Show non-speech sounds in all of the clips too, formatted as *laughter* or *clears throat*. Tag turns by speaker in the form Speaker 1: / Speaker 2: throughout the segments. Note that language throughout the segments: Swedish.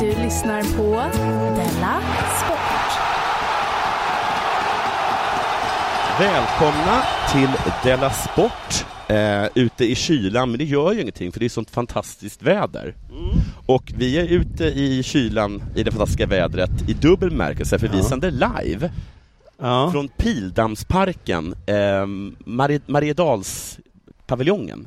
Speaker 1: Du lyssnar på Della Sport.
Speaker 2: Välkomna till Della Sport eh, ute i kylan, men det gör ju ingenting för det är sånt fantastiskt väder. Och vi är ute i kylan, i det fantastiska vädret, i dubbel bemärkelse för vi sänder live
Speaker 3: Ja.
Speaker 2: från Pildamsparken, eh, Marie- Mariedalspaviljongen,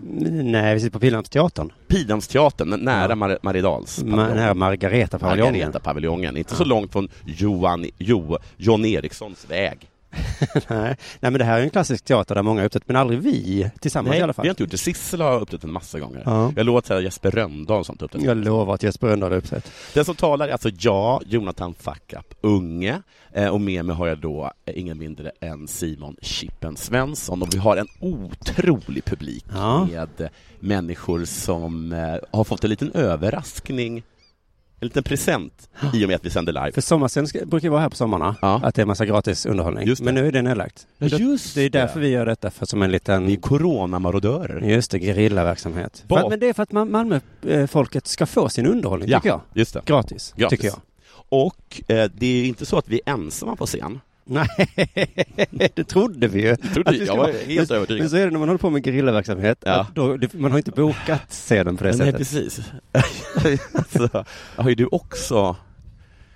Speaker 3: Nej, vi sitter på Pildammsteatern.
Speaker 2: Pildamsteatern, nära
Speaker 3: Ja.
Speaker 2: Mar- Mariedalspaviljongen.
Speaker 3: Den här Margareta-paviljongen.
Speaker 2: Margaretapaviljongen, inte så långt från Johan, jo, John Erikssons väg.
Speaker 3: *laughs* Nej. Nej, men det här är en klassisk teater där många har uppträtt, men aldrig vi tillsammans i alla fall.
Speaker 2: vi har inte gjort det. Sissela har uppträtt en massa gånger.
Speaker 3: Ja.
Speaker 2: Jag lovar att säga Jesper Rönndahl och sånt uppträtt.
Speaker 3: Jag lovar att Jesper Rönndahl har uppträtt.
Speaker 2: Den som talar är alltså jag, Jonathan Fuckup Unge, eh, och med mig har jag då eh, ingen mindre än Simon Chippen Svensson och vi har en otrolig publik
Speaker 3: Ja.
Speaker 2: med eh, människor som eh, har fått en liten överraskning, en liten present i och med att vi sänder live.
Speaker 3: För sommarscen brukar ju vara här på sommarna,
Speaker 2: Ja.
Speaker 3: att det är massa gratis underhållning.
Speaker 2: Just det.
Speaker 3: men nu är det nedlagt.
Speaker 2: Ja, just
Speaker 3: det är
Speaker 2: det.
Speaker 3: därför vi gör detta, för som en
Speaker 2: Vi är
Speaker 3: liten...
Speaker 2: coronamarodörer.
Speaker 3: Just det, gerillaverksamhet.
Speaker 2: Bak-
Speaker 3: För att- Men det är för att man- Malmö-folket ska få sin underhållning, tycker jag.
Speaker 2: just det.
Speaker 3: Gratis,
Speaker 2: Gratis.
Speaker 3: tycker jag.
Speaker 2: Och eh, det är ju inte så att vi är ensamma på scen.
Speaker 3: Nej, *laughs* det trodde vi ju.
Speaker 2: Trodde
Speaker 3: Att vi
Speaker 2: jag,
Speaker 3: ska
Speaker 2: jag var
Speaker 3: vara-
Speaker 2: helt övertygad.
Speaker 3: Men så är det när man håller på med gerillaverksamhet.
Speaker 2: Ja.
Speaker 3: att Då, det, man har inte bokat scenen på det
Speaker 2: Nej,
Speaker 3: sättet.
Speaker 2: precis. *laughs* alltså, har ju du också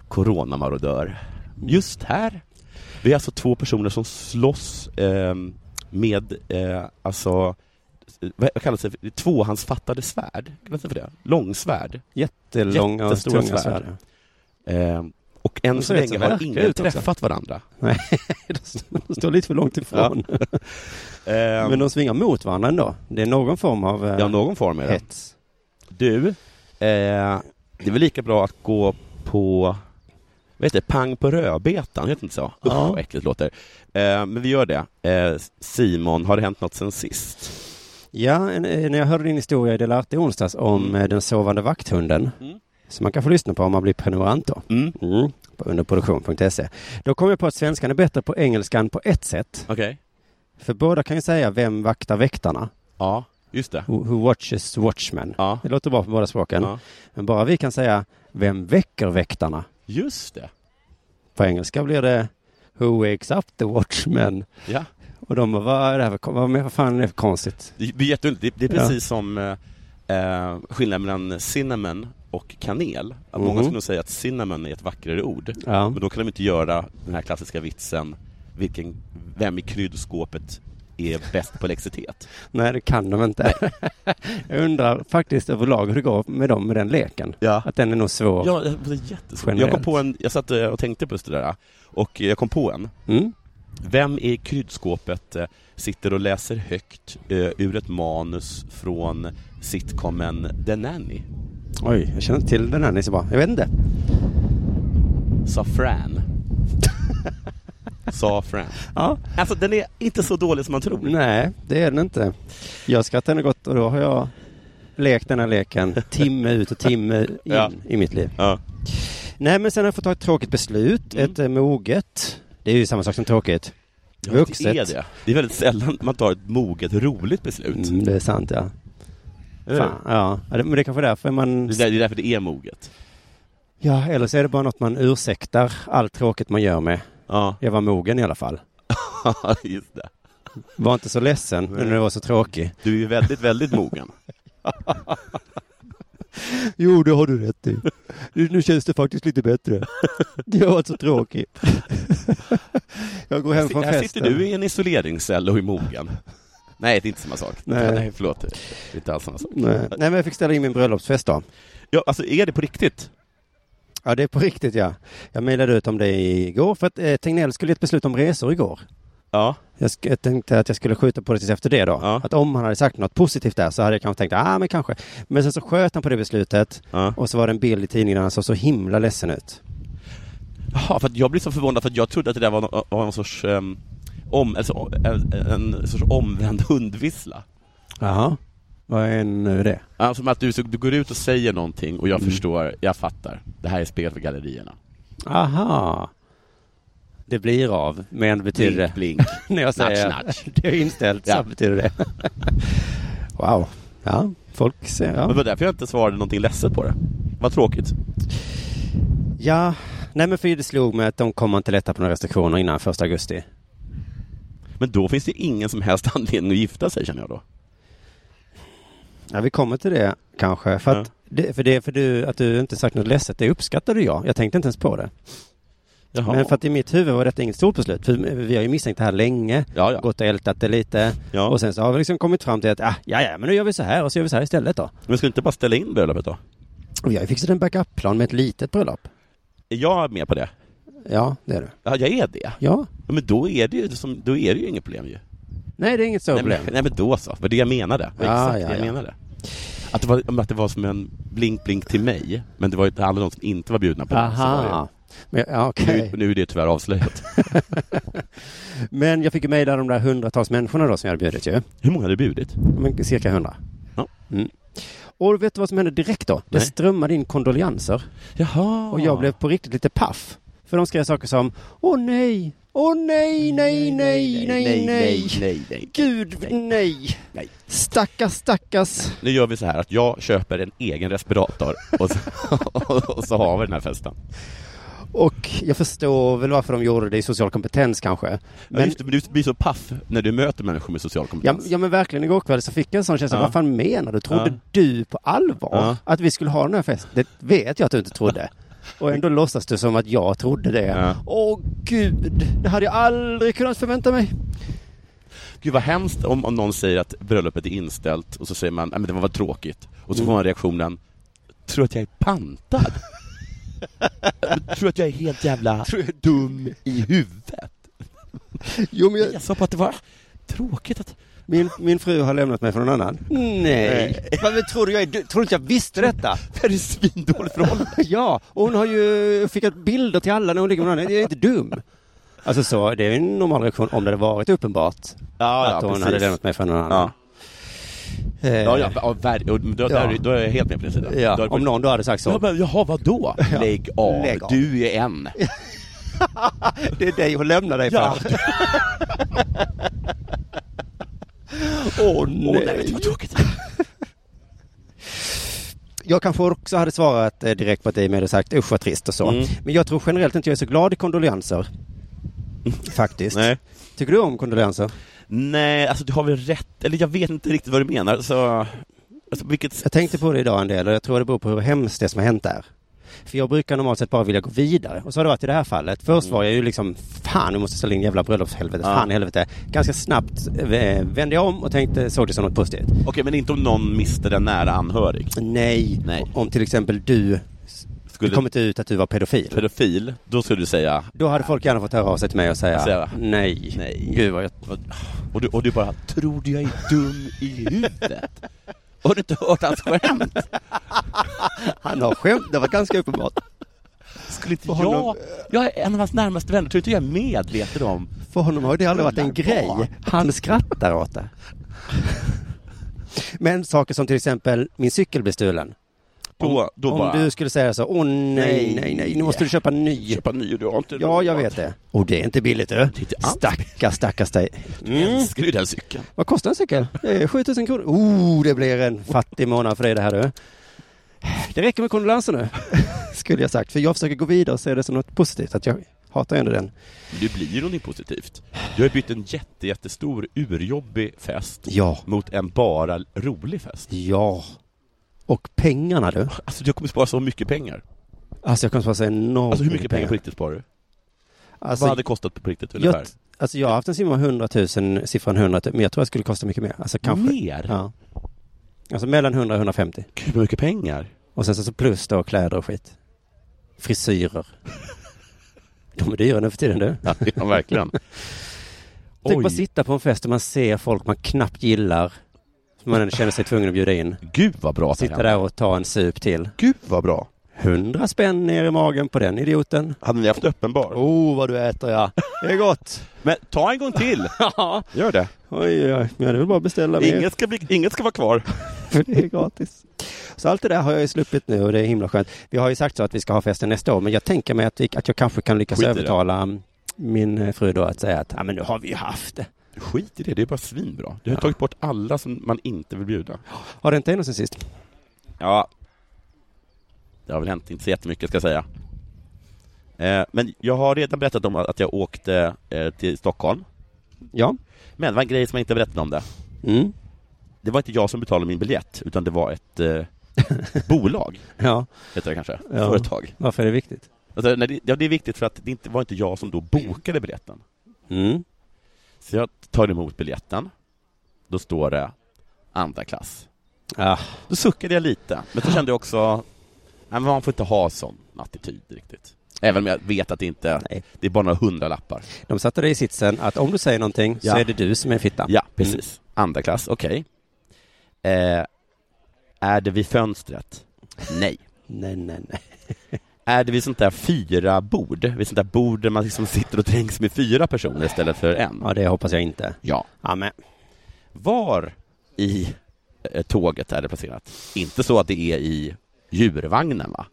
Speaker 2: coronamarodör? Just här. Det är alltså två personer som slåss eh, med, eh, alltså, vad vad kallas det? för? Tvåhandsfattade svärd? Kallas det för det? Långsvärd?
Speaker 3: Jättelånga och
Speaker 2: Jättestora
Speaker 3: tunga
Speaker 2: svärd.
Speaker 3: svärd.
Speaker 2: Eh, och än
Speaker 3: Och
Speaker 2: så
Speaker 3: så rätt
Speaker 2: länge
Speaker 3: så
Speaker 2: har
Speaker 3: verkliga
Speaker 2: ingen
Speaker 3: ut också.
Speaker 2: träffat varandra.
Speaker 3: *laughs* De står lite för långt ifrån.
Speaker 2: Eh,
Speaker 3: Men de svingar mot varandra ändå. Det är någon form av eh,
Speaker 2: ja, någon form är det.
Speaker 3: hets.
Speaker 2: Du, eh, det är väl lika bra att gå på vad heter det? Pang på rödbetan, heter det inte så? Usch,
Speaker 3: Ja.
Speaker 2: vad äckligt det låter. Eh, men vi gör det. Eh, Simon, har det hänt något sen sist?
Speaker 3: Ja, en- eh, när jag hörde din historia i Delarte i onsdags om eh, den sovande vakthunden.
Speaker 2: Mm.
Speaker 3: Som man kan få lyssna på om man blir prenumerant då.
Speaker 2: Mm.
Speaker 3: Mm. På underproduktion.se. Då kom jag på att svenskan är bättre på engelskan på ett sätt.
Speaker 2: Okej.
Speaker 3: För båda kan ju säga vem vaktar väktarna.
Speaker 2: Ja, just det.
Speaker 3: Who who watches watchmen.
Speaker 2: Ja.
Speaker 3: Det låter bra på båda språken.
Speaker 2: ja.
Speaker 3: Men bara vi kan säga Vem väcker väktarna?
Speaker 2: Just det.
Speaker 3: På engelska blir det Who wakes up the watchmen?
Speaker 2: Ja.
Speaker 3: Och de bara, vad är det här för, kon- vad, vad fan är det för konstigt?
Speaker 2: Det, det är jätteunderligt. Det, det är
Speaker 3: Ja.
Speaker 2: precis som eh, eh, skillnaden mellan cinnamon och kanel. Att Många
Speaker 3: Mhm.
Speaker 2: skulle nog säga att cinnamon är ett vackrare ord.
Speaker 3: Ja.
Speaker 2: Men då kan de inte göra den här klassiska vitsen, vilken, vem i kryddskåpet är bäst på lexitet?
Speaker 3: Nej, det kan de inte. *laughs* jag undrar faktiskt överlag hur det går med dem med den leken.
Speaker 2: Ja.
Speaker 3: Att den är nog svår.
Speaker 2: Ja, det är jättesvårt. Jag
Speaker 3: Generellt.
Speaker 2: kom på en, jag satt eh, och tänkte på just det där och jag kom på en.
Speaker 3: Mm?
Speaker 2: Vem i kryddskåpet eh, sitter och läser högt eh, ur ett manus från sitcomen The Nanny?
Speaker 3: Oj, jag känner inte till den här ni är så bra. Jag vet inte.
Speaker 2: Sa Fran. Sa Fran.
Speaker 3: Ja.
Speaker 2: Alltså den är inte så dålig som man tror.
Speaker 3: Nej, det är den inte. Jag skrattar ändå gott och då har jag lekt den
Speaker 2: *laughs*
Speaker 3: här leken timme ut och timme in
Speaker 2: Ja.
Speaker 3: i mitt liv.
Speaker 2: Ja.
Speaker 3: Nej, men sen har jag fått ta ett tråkigt beslut, ett eh, moget. Det är ju samma sak som tråkigt.
Speaker 2: Mm. Ja,
Speaker 3: Vuxet.
Speaker 2: Det är det. Det är väldigt sällan man tar ett moget roligt beslut.
Speaker 3: Mm, det är sant, ja.
Speaker 2: Eller hur?
Speaker 3: Fan, ja. ja. det- Men det är kanske är därför man...
Speaker 2: Det, är där, det är därför det är moget.
Speaker 3: Ja, eller så är det bara något man ursäktar allt tråkigt man gör med.
Speaker 2: Ja, *laughs*
Speaker 3: Jag var mogen i alla fall.
Speaker 2: just det.
Speaker 3: Var inte så ledsen när du var så tråkig.
Speaker 2: Du är ju väldigt, väldigt mogen.
Speaker 3: Jo, det har du rätt i. Nu nu känns det faktiskt lite *laughs* bättre. Det var så tråkigt. *laughs* Jag går *laughs* hem från
Speaker 2: Här
Speaker 3: festen.
Speaker 2: sitter du i en isoleringscell och är mogen. Nej, det är inte samma sak.
Speaker 3: *laughs* Nej.
Speaker 2: Nej, förlåt. Det är inte alls samma sak.
Speaker 3: Nej. Nej, men jag fick ställa in min bröllopsfest då.
Speaker 2: Ja, alltså, är det på riktigt?
Speaker 3: Ja, det är på riktigt ja. Jag mejlade ut om det igår för att eh, Tegnell skulle ge ett beslut om resor igår.
Speaker 2: Ja.
Speaker 3: Jag, sk- jag tänkte att jag skulle skjuta på det tills efter det då.
Speaker 2: Ja.
Speaker 3: Att om han hade sagt något positivt där så hade jag kanske tänkt, ah men kanske. Men sen så sköt han på det beslutet
Speaker 2: ja.
Speaker 3: och så var det en bild i tidningen där han såg så himla ledsen ut.
Speaker 2: Jaha, för att jag blev så förvånad för att jag trodde att det där var någon, var någon sorts ehm, om, alltså, en, en sorts omvänd *laughs* hundvissla.
Speaker 3: Jaha. Vad är nu det?
Speaker 2: Ja, Som att du, så, du går ut och säger någonting och jag
Speaker 3: Mm.
Speaker 2: förstår, jag fattar. Det här är spel för gallerierna.
Speaker 3: Aha. Det blir av, men betyder det?
Speaker 2: Blink,
Speaker 3: *laughs*
Speaker 2: blink.
Speaker 3: När jag
Speaker 2: Snatch,
Speaker 3: säger
Speaker 2: snatch.
Speaker 3: *laughs* det är inställt
Speaker 2: Ja.
Speaker 3: så betyder *laughs* det. wow. Ja, folk ser.
Speaker 2: Men det
Speaker 3: Ja.
Speaker 2: var därför jag inte svarade någonting ledset på det. Vad tråkigt.
Speaker 3: ja. Nej men för det slog mig att de kommer inte lätta på några restriktioner innan första augusti.
Speaker 2: Men då finns det ingen som helst *laughs* anledning att gifta sig känner jag då.
Speaker 3: Ja, vi kommer till det kanske. För, att, det, för, det, för du, att du inte sagt något ledset, det uppskattade jag. Jag tänkte inte ens på det.
Speaker 2: Jaha.
Speaker 3: Men för att i mitt huvud var detta inget stort beslut. För vi har ju misstänkt det här länge,
Speaker 2: Ja, ja.
Speaker 3: gått och ältat det lite.
Speaker 2: Ja.
Speaker 3: Och sen så har vi liksom kommit fram till att, ah, ja, ja, men nu gör vi så här och så gör vi så här istället då.
Speaker 2: Men ska du inte bara ställa in bröllopet då?
Speaker 3: Och jag har ju fixat en backup-plan med ett litet bröllop.
Speaker 2: Är jag med på det?
Speaker 3: Ja, det är du.
Speaker 2: Ja, jag är det.
Speaker 3: Ja.
Speaker 2: Ja, Men då är det ju, som, då är det ju inget problem ju.
Speaker 3: Nej, det är inget stort
Speaker 2: Nej
Speaker 3: problem.
Speaker 2: men, nej men då så, det var det jag menade. Det var
Speaker 3: Ja,
Speaker 2: exakt
Speaker 3: ja,
Speaker 2: det jag
Speaker 3: ja.
Speaker 2: menade. Att det, var, att det var som en blink-blink till mig, men det var ju inte alla de som inte var bjudna på den, så var det ju.
Speaker 3: Aha. Men, ja, okej.
Speaker 2: Nu, nu är det tyvärr avslöjat. *laughs*
Speaker 3: men jag fick ju mejla de där hundratals människorna då som jag hade bjudit ju.
Speaker 2: Hur många har du bjudit?
Speaker 3: Men cirka hundra.
Speaker 2: Ja.
Speaker 3: Mm. Och vet du vad som hände direkt då? Det
Speaker 2: Nej.
Speaker 3: strömmade in kondolenser.
Speaker 2: Jaha!
Speaker 3: Och jag blev på riktigt lite paff. För de skrev saker som Åh nej! Åh nej, nej, nej, nej, nej!
Speaker 2: nej, nej.
Speaker 3: Gud, nej!
Speaker 2: Nej.
Speaker 3: Stackars, stackars!
Speaker 2: Nu gör vi så här att jag köper en egen respirator och så, och så *laughs* har vi den här festen.
Speaker 3: Och jag förstår väl varför de gjorde det i social kompetens kanske.
Speaker 2: Men... Ja,
Speaker 3: Men,
Speaker 2: just det, men du blir så paff när du möter människor med social
Speaker 3: ja,
Speaker 2: kompetens.
Speaker 3: ja men verkligen, igår kväll så fick jag en sån känsla.
Speaker 2: Ja.
Speaker 3: Vad fan menar du? Trodde
Speaker 2: Ja.
Speaker 3: du på allvar
Speaker 2: Ja.
Speaker 3: att vi skulle ha den här festen? Det vet jag att du inte trodde. Och ändå låtsas du som att jag trodde det.
Speaker 2: Ja.
Speaker 3: Åh gud, det hade jag aldrig kunnat förvänta mig.
Speaker 2: Gud vad hemskt om, om någon säger att bröllopet är inställt och så säger man "Nej, men det var väl tråkigt och så får man reaktionen Tror du att jag är pantad? *laughs* Tror du att jag är helt jävla dum i huvudet?
Speaker 3: Jo, men
Speaker 2: Jag sa på att det var tråkigt att...
Speaker 3: Min, min fru har lämnat mig för någon annan. Nej. Vad tror du jag är? Du, tror du inte jag visste detta?
Speaker 2: Det här *laughs* är svindåligt förhållande.
Speaker 3: *laughs* Ja, och hon har ju skickat bilder till alla när hon ligger med någon annan. Jag är inte dum. Alltså så, det är en normal reaktion om det hade varit uppenbart
Speaker 2: Ja,
Speaker 3: att hon hade lämnat mig för någon annan.
Speaker 2: Ja,
Speaker 3: Eh,
Speaker 2: ja, ja, ja ver- och då, Där, är- då är jag helt med på din sida. Då
Speaker 3: ja,
Speaker 2: är det på-
Speaker 3: om någon då hade sagt
Speaker 2: Ja,
Speaker 3: så.
Speaker 2: men jaha, vadå? Lägg av.
Speaker 3: Lägg av.
Speaker 2: Du är en.
Speaker 3: Det är dig hon lämnar dig
Speaker 2: Ja.
Speaker 3: för. Åh
Speaker 2: Åh nej, men det var tråkigt.
Speaker 3: Jag kanske också hade svarat eh, direkt på ett e-mail och sagt usch vad trist och så.
Speaker 2: Mm.
Speaker 3: Men jag tror generellt inte jag är så glad i kondolenser. Faktiskt.
Speaker 2: Mm. Nej.
Speaker 3: Tycker du om kondolenser?
Speaker 2: Nej, alltså du har väl rätt, eller jag vet inte riktigt vad du menar, så... Alltså, vilket...
Speaker 3: Jag tänkte på det idag en del och jag tror det beror på hur hemskt det som har hänt är. För jag brukar normalt sett bara vilja gå vidare. Och så har det varit i det här fallet. Först var jag ju liksom, fan vi måste ställa in jävla bröllopshelvetet,
Speaker 2: Mm. Ja.
Speaker 3: fan i helvete. Ganska snabbt eh, vände jag om och tänkte, såg det som något positivt.
Speaker 2: Okej, men inte om någon mister en nära anhörig.
Speaker 3: Nej,
Speaker 2: Nej.
Speaker 3: om till exempel du, det
Speaker 2: Skulle
Speaker 3: kom inte ut att du var pedofil.
Speaker 2: pedofil, då skulle du säga...
Speaker 3: Då hade folk gärna fått höra av sig till mig och säga,
Speaker 2: Säga,
Speaker 3: nej.
Speaker 2: Nej.
Speaker 3: Gud vad jag...
Speaker 2: Och du, och du bara, tror du jag är dum i huvudet? Har du inte hört hans skämt?
Speaker 3: Han har skämt, det var ganska uppenbart.
Speaker 2: Skulle inte jag...
Speaker 3: honom-
Speaker 2: Jag är en av hans närmaste vänner, tror du inte jag är medveten om...
Speaker 3: För honom har det aldrig varit en
Speaker 2: Rullar
Speaker 3: grej.
Speaker 2: bak.
Speaker 3: Han skrattar
Speaker 2: *laughs*
Speaker 3: åt det. Men saker som till exempel min cykel blir stulen.
Speaker 2: Då, då
Speaker 3: Om
Speaker 2: bara...
Speaker 3: du skulle säga så, åh nej, nej, nej, nu måste du köpa en ny.
Speaker 2: Köpa en ny, du har inte
Speaker 3: Ja, jag
Speaker 2: råd.
Speaker 3: vet det. Och det är inte billigt du.
Speaker 2: Det är inte alls
Speaker 3: Stackars, stackars dig.
Speaker 2: Jag
Speaker 3: Mm.
Speaker 2: älskar ju den cykeln.
Speaker 3: Vad kostar en cykel? Det är 7000 kronor. Oh, det blir en fattig månad för dig det här du. Det räcker med kondolenser nu, *laughs* skulle jag sagt. För jag försöker gå vidare och se det som något positivt, att jag hatar ju ändå den.
Speaker 2: Men Det blir ju någonting positivt. Du har bytt en jätte, jättestor urjobbig fest
Speaker 3: Ja,
Speaker 2: mot en bara rolig fest.
Speaker 3: ja. Och pengarna du.
Speaker 2: Alltså jag kommer spara så mycket pengar.
Speaker 3: Alltså jag kommer att säga enormt
Speaker 2: Alltså hur mycket pengar på riktigt sparar du?
Speaker 3: Alltså,
Speaker 2: Vad hade det kostat på riktigt
Speaker 3: jag,
Speaker 2: ungefär?
Speaker 3: alltså jag har haft en simma 100 000, siffran 100 000, men jag tror jag skulle kosta mycket mer. Alltså kanske.
Speaker 2: Mer?
Speaker 3: Ja. Alltså mellan 100 och 150.
Speaker 2: Gud vad mycket pengar.
Speaker 3: Och sen så, så plus då kläder och skit. Frisyrer. De är dyra nu för tiden du.
Speaker 2: Ja, *laughs* ja verkligen.
Speaker 3: Tänk bara
Speaker 2: Oj,
Speaker 3: sitta på en fest där man ser folk man knappt gillar. Som man känner sig tvungen att bjuda in.
Speaker 2: gud vad bra
Speaker 3: Sitta
Speaker 2: Tarjan.
Speaker 3: där och ta en sup till.
Speaker 2: Gud vad bra.
Speaker 3: Hundra spänn ner i magen på den idioten.
Speaker 2: Hade ni haft öppen bar?
Speaker 3: Oh, vad du äter ja. Det är gott.
Speaker 2: Men ta en gång *laughs* till!
Speaker 3: ja.
Speaker 2: Gör det.
Speaker 3: Oj, oj, men jag vill bara beställa mer.
Speaker 2: Inget ska, bli, inget ska vara kvar.
Speaker 3: *laughs* för det är gratis. Så allt det där har jag ju sluppit nu och det är himla skönt. Vi har ju sagt så att vi ska ha festen nästa år, men jag tänker mig att, vi, att jag kanske kan lyckas
Speaker 2: Skit i det.
Speaker 3: övertala mm, min eh, fru då att säga att ja men nu har vi ju haft det.
Speaker 2: Skit i det, det är bara svinbra. Du har tagit bort alla som man inte vill bjuda.
Speaker 3: Har det inte hänt sen sist?
Speaker 2: Ja. Det har väl hänt inte så jättemycket ska jag säga. Eh, men jag har redan berättat om att jag åkte eh, till Stockholm.
Speaker 3: Ja.
Speaker 2: Men det var en grej som jag inte berättade om det.
Speaker 3: Mm.
Speaker 2: Det var inte jag som betalade min biljett, utan det var ett eh, *laughs* bolag,
Speaker 3: Ja.
Speaker 2: heter det kanske.
Speaker 3: Ja.
Speaker 2: Företag.
Speaker 3: Varför är det viktigt?
Speaker 2: Alltså, nej, det, ja, det är viktigt för att det inte, var inte jag som då bokade biljetten.
Speaker 3: Mm.
Speaker 2: Så jag tar emot biljetten. Då står det andra klass.
Speaker 3: Ah.
Speaker 2: Då suckade jag lite, men så kände jag också nej, men man får inte ha sån attityd riktigt. Även om jag vet att det inte
Speaker 3: Nej.
Speaker 2: det är bara några hundra lappar.
Speaker 3: De satte dig i sitsen att om du säger någonting så
Speaker 2: Ja.
Speaker 3: är det du som är fitta. Mm.
Speaker 2: Ja, precis. Andra klass, okej. Eh, är det vid fönstret? Nej.
Speaker 3: Nej, nej, nej.
Speaker 2: Är det vid sånt där fyra bord? Vid sånt där bord där man liksom sitter och trängs med fyra personer istället för en?
Speaker 3: Ja, det hoppas jag inte.
Speaker 2: Ja.
Speaker 3: Ja, men.
Speaker 2: Var i eh, tåget är det placerat? Inte så att det är i djurvagnen va?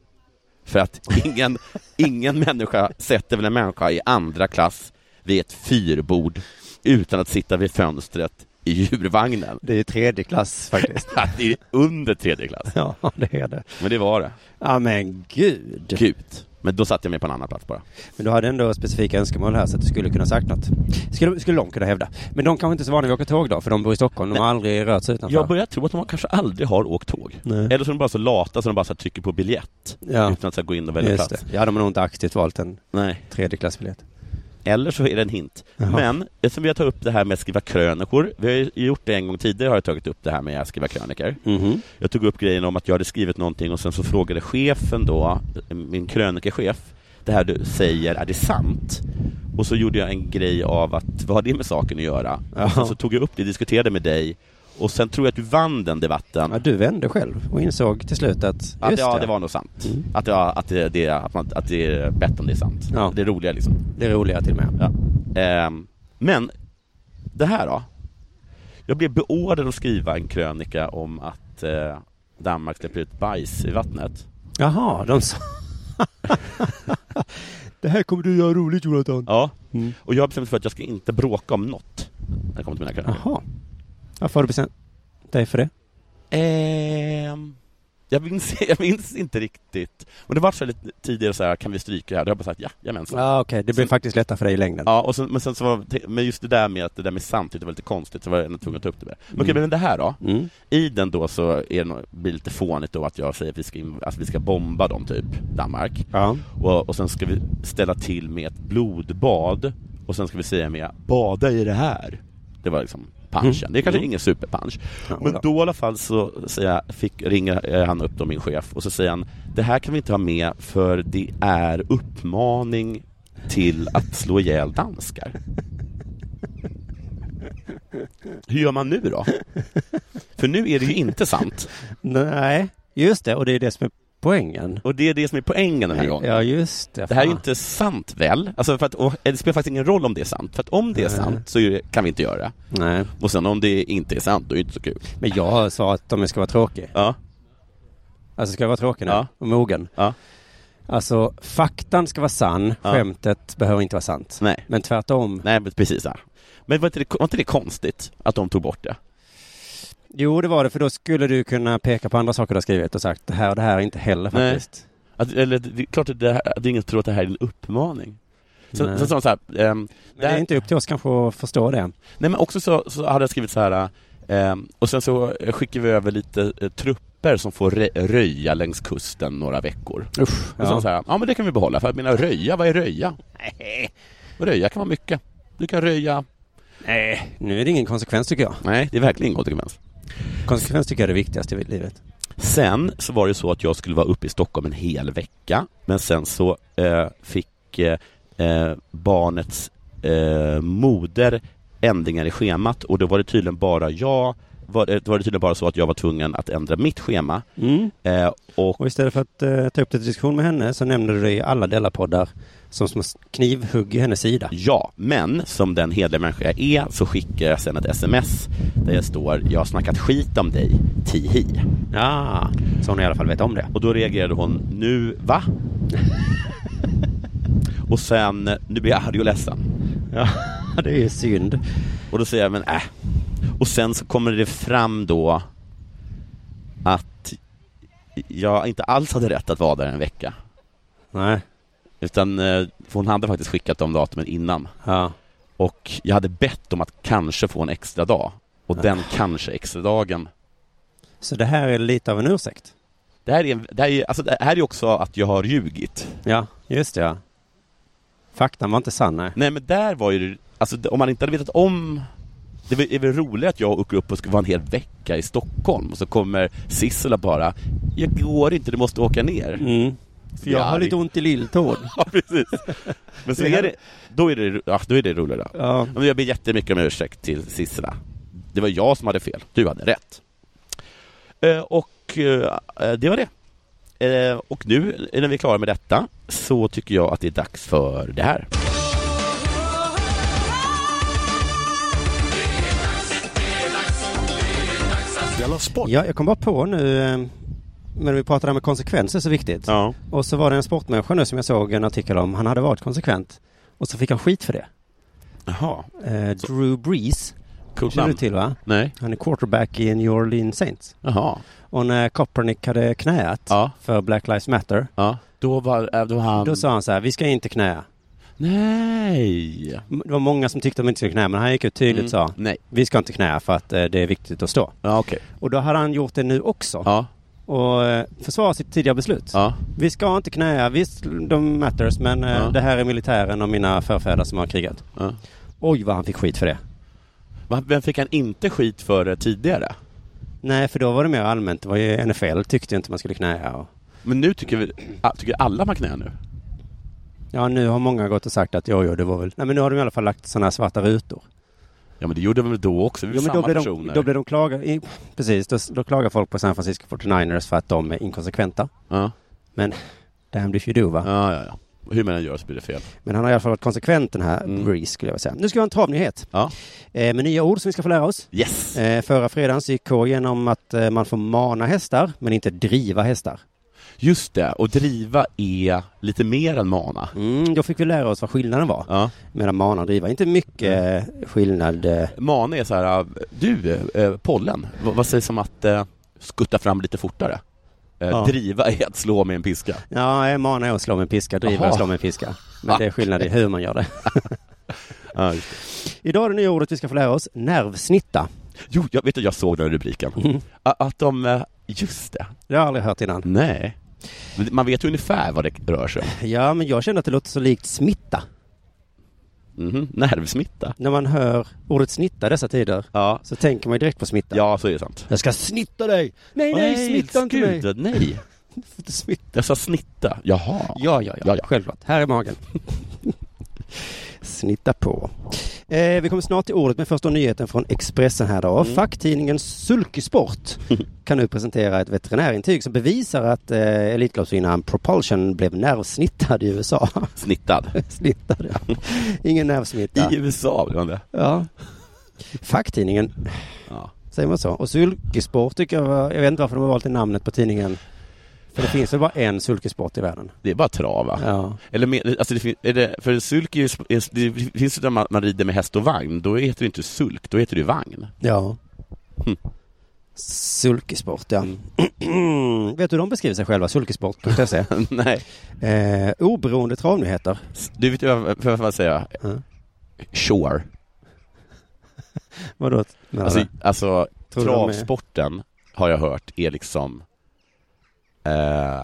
Speaker 2: För att *laughs* ingen, ingen människa sätter väl en människa i andra klass vid ett fyrbord utan att sitta vid fönstret i djurvagnen. *laughs*
Speaker 3: Det är ju tredje klass faktiskt.
Speaker 2: Att det är under tredje klass.
Speaker 3: *laughs* ja, det är det.
Speaker 2: Men det var det.
Speaker 3: Ja, men gud.
Speaker 2: Gud. Men då satt jag mig på en annan plats bara.
Speaker 3: Men du hade ändå specifika önskemål här så att du skulle kunna sagt något. Skulle, skulle de kunna hävda. Men de kanske inte är så vana vid att åka tåg då, för de bor i Stockholm. De har aldrig rört sig utanför.
Speaker 2: Jag börjar tro att de kanske aldrig har åkt tåg.
Speaker 3: Nej.
Speaker 2: Eller så är de bara så lata så de bara så här trycker på biljett
Speaker 3: ja,
Speaker 2: utan att så här gå in och välja
Speaker 3: just
Speaker 2: plats.
Speaker 3: det. Ja, de har nog inte aktivt valt en
Speaker 2: Nej.
Speaker 3: tredjeklassbiljett.
Speaker 2: Eller så är det en hint.
Speaker 3: Jaha.
Speaker 2: Men eftersom vi har tagit upp det här med att skriva krönikor. Vi har ju gjort det en gång tidigare har jag tagit upp det här med att skriva krönikor.
Speaker 3: Mhm.
Speaker 2: Jag tog upp grejen om att jag hade skrivit någonting och sen så frågade chefen då, min krönikechef, det här du säger, är det sant? Och så gjorde jag en grej av att, vad har det med saken att göra?
Speaker 3: Jaha.
Speaker 2: Och sen så tog jag upp det, diskuterade med dig och sen tror jag att du vann den debatten.
Speaker 3: Ja, du vände själv och insåg till slut att... Just Mm.
Speaker 2: Att, ja, det var nog sant. Att, det var, att, det, det, att, man, att det är bättre om det är sant.
Speaker 3: Ja.
Speaker 2: Det är roligare liksom.
Speaker 3: Det är roligare till och med.
Speaker 2: Ja. Ehm, men det här då? Jag blev beordrad att skriva en krönika om att eh, Danmark släpper ut bajs i vattnet.
Speaker 3: Jaha, de *laughs* sa... det här kommer du göra roligt Jonathan.
Speaker 2: Ja.
Speaker 3: Mm.
Speaker 2: Och jag har bestämt mig för att jag ska inte bråka om något när det kommer till mina krönikor.
Speaker 3: Jaha. Varför har du bestämt dig för det?
Speaker 2: Ehm, jag, minns, *laughs* jag minns inte riktigt. Men det var så här lite tidigare så här, kan vi stryka det här? Då har jag bara sagt ja, jajamensan.
Speaker 3: Ja, okej. Det blir
Speaker 2: Så-
Speaker 3: faktiskt lättare för dig i längden.
Speaker 2: Ja, och sen, men sen så var, men just det där med att det där med samtidigt var lite konstigt, så var jag ändå tvungen att ta upp det där. Men okej,
Speaker 3: Mm.
Speaker 2: men det här då?
Speaker 3: Mm.
Speaker 2: I den då så är det, nog- blir det lite fånigt då att jag säger att vi ska, in, alltså vi ska bomba dem, typ, Danmark.
Speaker 3: Ja.
Speaker 2: Och, och sen ska vi ställa till med ett blodbad, och sen ska vi säga med ”bada i det här”. Det var liksom punchen. Det är kanske
Speaker 3: Mm.
Speaker 2: ingen superpunch.
Speaker 3: Ja,
Speaker 2: Men
Speaker 3: då.
Speaker 2: då i alla fall så säger jag, fick, ringer eh, han upp då min chef och så säger han ”det här kan vi inte ha med för det är uppmaning till att slå ihjäl danskar”. Hur gör man nu då? För nu är det ju inte sant.
Speaker 3: Nej, just det. Och det är det som är poängen.
Speaker 2: Och det är det som är poängen den här gången.
Speaker 3: Ja, just det.
Speaker 2: Det här är ju
Speaker 3: Fan.
Speaker 2: inte sant väl? Alltså för att, och det spelar faktiskt ingen roll om det är sant, för att om det är sant så är det- kan vi inte göra det.
Speaker 3: Nej,
Speaker 2: Och sen om det inte är sant, då är det inte så kul.
Speaker 3: men jag har svarat om jag ska vara tråkig.
Speaker 2: Ja.
Speaker 3: Alltså ska jag vara tråkig nu?
Speaker 2: Ja.
Speaker 3: Och mogen?
Speaker 2: Ja.
Speaker 3: Alltså faktan ska vara sann,
Speaker 2: Ja.
Speaker 3: skämtet behöver inte vara sant.
Speaker 2: Nej.
Speaker 3: Men tvärtom.
Speaker 2: Nej, men precis. Ja. Men var inte, det, var inte det konstigt att de tog bort det?
Speaker 3: Jo, det var det, för då skulle du kunna peka på andra saker du har skrivit och sagt det här och det här är inte heller
Speaker 2: Nej.
Speaker 3: faktiskt.
Speaker 2: Att, eller, det är klart att, det här, att ingen tror att det här är en uppmaning. Sen,
Speaker 3: Nej.
Speaker 2: sen sa de så här, ehm,
Speaker 3: Men det är inte upp till oss kanske att förstå det.
Speaker 2: Nej men också så, så hade jag skrivit så här ehm, och sen så eh, skickar vi över lite eh, trupper som får re- röja längs kusten några veckor.
Speaker 3: Usch.
Speaker 2: Och sen
Speaker 3: Ja.
Speaker 2: så här, ja men det kan vi behålla, för jag menar röja, vad är röja? Nej. Röja kan vara mycket. Du kan röja... Nej.
Speaker 3: Nu är det ingen konsekvens tycker jag.
Speaker 2: Nej, det är verkligen inget konsekvens.
Speaker 3: Konsekvens tycker jag är det viktigaste i livet.
Speaker 2: Sen så var det så att jag skulle vara uppe i Stockholm en hel vecka, men sen så eh, fick eh, eh, barnets eh, moder ändringar i schemat och då var det tydligen bara jag var, eh, då var det tydligen bara så att jag var tvungen att ändra mitt schema eh, och
Speaker 3: Och istället för att eh, ta upp det till diskussion med henne så nämnde du det i alla Della-poddar som små knivhugg i hennes sida.
Speaker 2: Ja, men som den hederliga människa jag är så skickar jag sen ett sms där det står jag har snackat skit om dig, tihi.
Speaker 3: Ja, så hon i alla fall vet om det.
Speaker 2: Och då reagerade hon, nu va? *laughs* och sen, nu blir jag arg och ledsen.
Speaker 3: Ja, det är ju synd.
Speaker 2: Och då säger jag, men äh. Och sen så kommer det fram då att jag inte alls hade rätt att vara där en vecka.
Speaker 3: Nej.
Speaker 2: Utan eh, för hon hade faktiskt skickat de datumen innan.
Speaker 3: Ja.
Speaker 2: Och jag hade bett om att kanske få en extra dag. Och den
Speaker 3: Ah.
Speaker 2: kanske extra dagen
Speaker 3: Så det här är lite av en ursäkt.
Speaker 2: Det här är, en- det här är, alltså det här är också att jag har ljugit.
Speaker 3: Ja, just det ja. Faktan var inte sann, nej.
Speaker 2: Nej men där var ju det- alltså det- om man inte hade vetat om det är väl- är väl roligt att jag åker upp och ska vara en hel vecka i Stockholm och så kommer Sissela bara Jag går inte, du måste åka ner.
Speaker 3: Mm. För jag
Speaker 2: Ja,
Speaker 3: har
Speaker 2: det-
Speaker 3: lite ont i lilltån.
Speaker 2: *laughs* Ja precis. Men så är det, då är det, ja, då är det roligare. Ja.
Speaker 3: Ja.
Speaker 2: Men jag ber jättemycket om ursäkt till Sissela. Det var jag som hade fel, du hade rätt. Eh, Och eh, det var det. Eh, Och nu när vi är klara med detta så tycker jag att det är dags för det här.
Speaker 4: Della Sport!
Speaker 3: ja, jag kom bara på nu eh, när vi pratade om att konsekvenser är så viktigt.
Speaker 2: Ja.
Speaker 3: Och så var det en sportmänniska nu som jag såg en artikel om. Han hade varit konsekvent. Och så fick han skit för det.
Speaker 2: Jaha.
Speaker 3: Eh, Drew Brees.
Speaker 2: Coolt
Speaker 3: Känner du
Speaker 2: namn.
Speaker 3: till va?
Speaker 2: Nej.
Speaker 3: Han är quarterback i New Orleans Saints.
Speaker 2: Jaha.
Speaker 3: Och när Kaepernick hade knäat
Speaker 2: Ja.
Speaker 3: för Black Lives Matter.
Speaker 2: Ja. Då var, eh, då var han...
Speaker 3: Då sa han så här, vi ska inte knäa.
Speaker 2: Nej.
Speaker 3: M- Det var många som tyckte de inte skulle knäa, men han gick ut tydligt och sa,
Speaker 2: Mm. Nej.
Speaker 3: vi ska inte knäa för att eh, det är viktigt att stå.
Speaker 2: Ja, okej.
Speaker 3: Och då hade han gjort det nu också.
Speaker 2: Ja.
Speaker 3: Och eh, försvarar sitt tidiga beslut.
Speaker 2: Ja.
Speaker 3: Vi ska inte knäa, visst de matters, men eh,
Speaker 2: Ja.
Speaker 3: det här är militären och mina förfäder som har krigat.
Speaker 2: ja.
Speaker 3: Oj vad han fick skit för det.
Speaker 2: Va- Vem fick han inte skit för eh, tidigare?
Speaker 3: Nej, för då var det mer allmänt. Det var ju NFL tyckte ju inte man skulle knäa. Och...
Speaker 2: Men nu tycker vi... ah, Tycker alla man knä nu?
Speaker 3: Ja, nu har många gått och sagt att jo, jo, det var väl... Nej, men nu har de i alla fall lagt sådana här svarta rutor.
Speaker 2: Ja men det gjorde de väl då också? Vi är
Speaker 3: Jo, men
Speaker 2: samma
Speaker 3: då blir de,
Speaker 2: personer.
Speaker 3: då blir de klaga... i- Precis, då, då klagar folk på San Francisco 49ers för att de är inkonsekventa.
Speaker 2: Ja.
Speaker 3: Men damn if you do, va?
Speaker 2: Ja, ja, ja. Hur man än gör så blir det fel.
Speaker 3: Men han har i alla fall varit konsekvent den här
Speaker 2: Mm.
Speaker 3: Breeze, skulle jag vilja säga. Nu ska vi ha en travnyhet.
Speaker 2: Ja.
Speaker 3: Eh, med nya ord som vi ska få lära oss.
Speaker 2: Yes!
Speaker 3: Eh, förra fredagen så gick K igenom att eh, man får mana hästar, men inte driva hästar.
Speaker 2: Just det, och driva är lite mer än mana.
Speaker 3: Mm, då fick vi lära oss vad skillnaden var
Speaker 2: Ja. Mm.
Speaker 3: mellan mana och driva. Inte mycket eh, skillnad. Eh,
Speaker 2: Mana är så här, du, eh, pollen, vad, vad sägs om att eh, skutta fram lite fortare? Eh,
Speaker 3: Ja.
Speaker 2: Driva är att slå med en piska.
Speaker 3: ja, eh, mana är att slå med en piska, driva är
Speaker 2: Aha.
Speaker 3: att slå med en piska. Men det är skillnad i hur man gör det.
Speaker 2: *laughs* Ja, just det.
Speaker 3: Idag är det nya ordet vi ska få lära oss, nervsnitta.
Speaker 2: Jo, jag vet att jag såg den här rubriken.
Speaker 3: Mm.
Speaker 2: A- Att de, eh, just det,
Speaker 3: Det har jag aldrig hört innan.
Speaker 2: nej. Men Man vet ju ungefär vad det rör sig om.
Speaker 3: Ja, men jag känner att det låter så likt smitta.
Speaker 2: Mhm, Nervsmitta.
Speaker 3: När man hör ordet snitta dessa tider
Speaker 2: Ja.
Speaker 3: så tänker man ju direkt på smitta.
Speaker 2: ja, så är det sant.
Speaker 3: Jag ska snitta dig! Nej, nej, smitta inte mig!
Speaker 2: gud, Nej,
Speaker 3: Du får inte smitta.
Speaker 2: jag sa snitta. Jaha.
Speaker 3: Ja, ja, ja,
Speaker 2: Ja, ja.
Speaker 3: Självklart. Här är magen. *laughs* Snitta på. Eh, vi kommer snart till ordet, men först då nyheten från Expressen här då.
Speaker 2: Mm. *laughs*
Speaker 3: Facktidningen Sulkysport kan nu presentera ett veterinärintyg som bevisar att eh, Elitloppsvinnaren Propulsion blev nervsnittad i USA. *laughs*
Speaker 2: Snittad.
Speaker 3: Snittad, ja. Ingen nervsmitta.
Speaker 2: I USA blev han det.
Speaker 3: Ja. Facktidningen,
Speaker 2: Ja.
Speaker 3: säger man så. Och Sulkysport tycker jag, var- jag vet inte varför de har valt det namnet på tidningen. För det finns väl bara en sulkesport i världen?
Speaker 2: Det är bara trav, va?
Speaker 3: Ja.
Speaker 2: Eller med, alltså det, fin- är det, för sulk är ju, sp- är, det finns ju där man, man rider med häst och vagn, då heter det inte sulk, då heter det ju
Speaker 3: *laughs*
Speaker 2: vagn.
Speaker 3: Ja.
Speaker 2: Hm.
Speaker 3: Sulkesport, ja. *clears throat* Vet du hur de beskriver sig
Speaker 2: *laughs*
Speaker 3: själva? Sulkesport.se.
Speaker 2: Nej,
Speaker 3: Eh, oberoende travnyheter.
Speaker 2: S- du vet ju vad, vad- vad säger jag?
Speaker 3: Mm.
Speaker 2: Sure.
Speaker 3: Vadå? menar
Speaker 2: Alltså,
Speaker 3: du?
Speaker 2: alltså
Speaker 3: Tror du de är-
Speaker 2: travsporten har jag hört är liksom... Eh,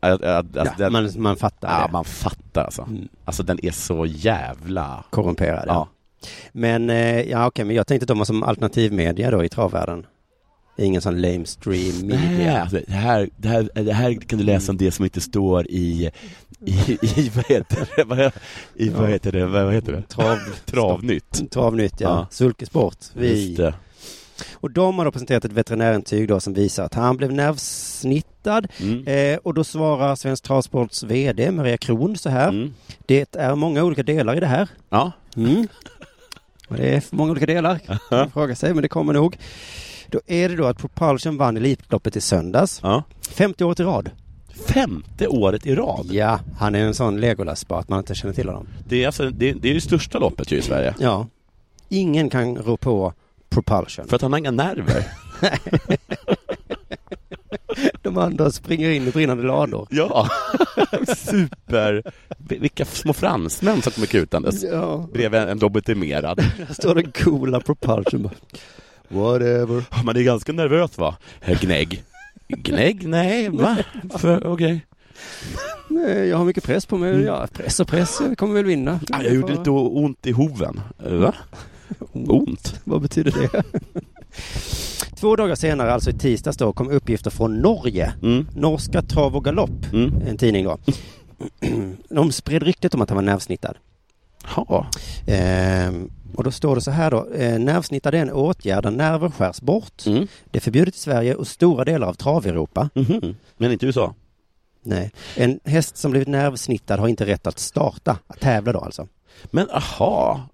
Speaker 2: att, att,
Speaker 3: ja,
Speaker 2: att den,
Speaker 3: man, man fattar
Speaker 2: alltså, ja,
Speaker 3: det.
Speaker 2: man fattar alltså.
Speaker 3: Mm.
Speaker 2: Alltså den är så jävla...
Speaker 3: Korrumperad, ja.
Speaker 2: Ja.
Speaker 3: Men, eh, ja okej, men jag tänkte att de var som alternativmedia då i travvärlden. Ingen sån lamestream media.
Speaker 2: Alltså, Det, här, det, här, det här kan du läsa om det som inte står i, i, i vad heter det, vad, i, vad
Speaker 3: Ja.
Speaker 2: heter det, vad, vad heter det?
Speaker 3: Trav,
Speaker 2: Travnytt.
Speaker 3: travnytt, ja.
Speaker 2: Ja.
Speaker 3: Sulkesport.
Speaker 2: Just
Speaker 3: Vi.
Speaker 2: det.
Speaker 3: Och de har då presenterat ett veterinärintyg då som visar att han blev nervsnittad.
Speaker 2: Mm.
Speaker 3: Eh, och då svarar Svensk Travsports VD Maria Kron så här.
Speaker 2: Mm.
Speaker 3: Det är många olika delar i det här.
Speaker 2: Ja.
Speaker 3: Mm. Och det är för många olika delar, kan man fråga sig, men det kommer nog. Då är det då att Propulsion vann Elitloppet i söndags,
Speaker 2: ja.
Speaker 3: 50 år i rad.
Speaker 2: Femte året i rad.
Speaker 3: Ja, han är en sån Legolas bara att man inte känner till honom.
Speaker 2: Det är, alltså, det, det är det största loppet ju i Sverige.
Speaker 3: Ja. Ingen kan rå på Propulsion.
Speaker 2: För att han har inga nerver.
Speaker 3: *laughs* De andra springer in i brinnande lador.
Speaker 2: Ja, super. Vilka små fransmän som kommer kutandes
Speaker 3: Ja,
Speaker 2: bredvid en lobotomerad.
Speaker 3: där står den coola Propulsion bara. Whatever.
Speaker 2: Man är ganska nervös va? Eh, Gnägg. Gnägg? Nej, va? För- Okej.
Speaker 3: Nej, jag har mycket press på mig. Ja, press och press, jag kommer väl vinna.
Speaker 2: Ah, Mm. Jag gjorde lite o- ont i hoven. Eh, Va? Ont?
Speaker 3: Mm. Vad betyder det? *laughs* Två dagar senare, alltså i tisdags då, kom uppgifter från Norge.
Speaker 2: Mm.
Speaker 3: Norska Trav och Galopp,
Speaker 2: Mm.
Speaker 3: en tidning då. *clears throat* De spred ryktet om att han var nervsnittad.
Speaker 2: Ja.
Speaker 3: Ehm, och då står det så här då. Eh, nervsnittad är en åtgärd där nerver skärs bort.
Speaker 2: Mm.
Speaker 3: Det är förbjudet i Sverige och stora delar av trav-Europa.
Speaker 2: Mhm. Men inte i USA.
Speaker 3: Nej. En häst som blivit nervsnittad har inte rätt att starta, att tävla då alltså.
Speaker 2: Men aha.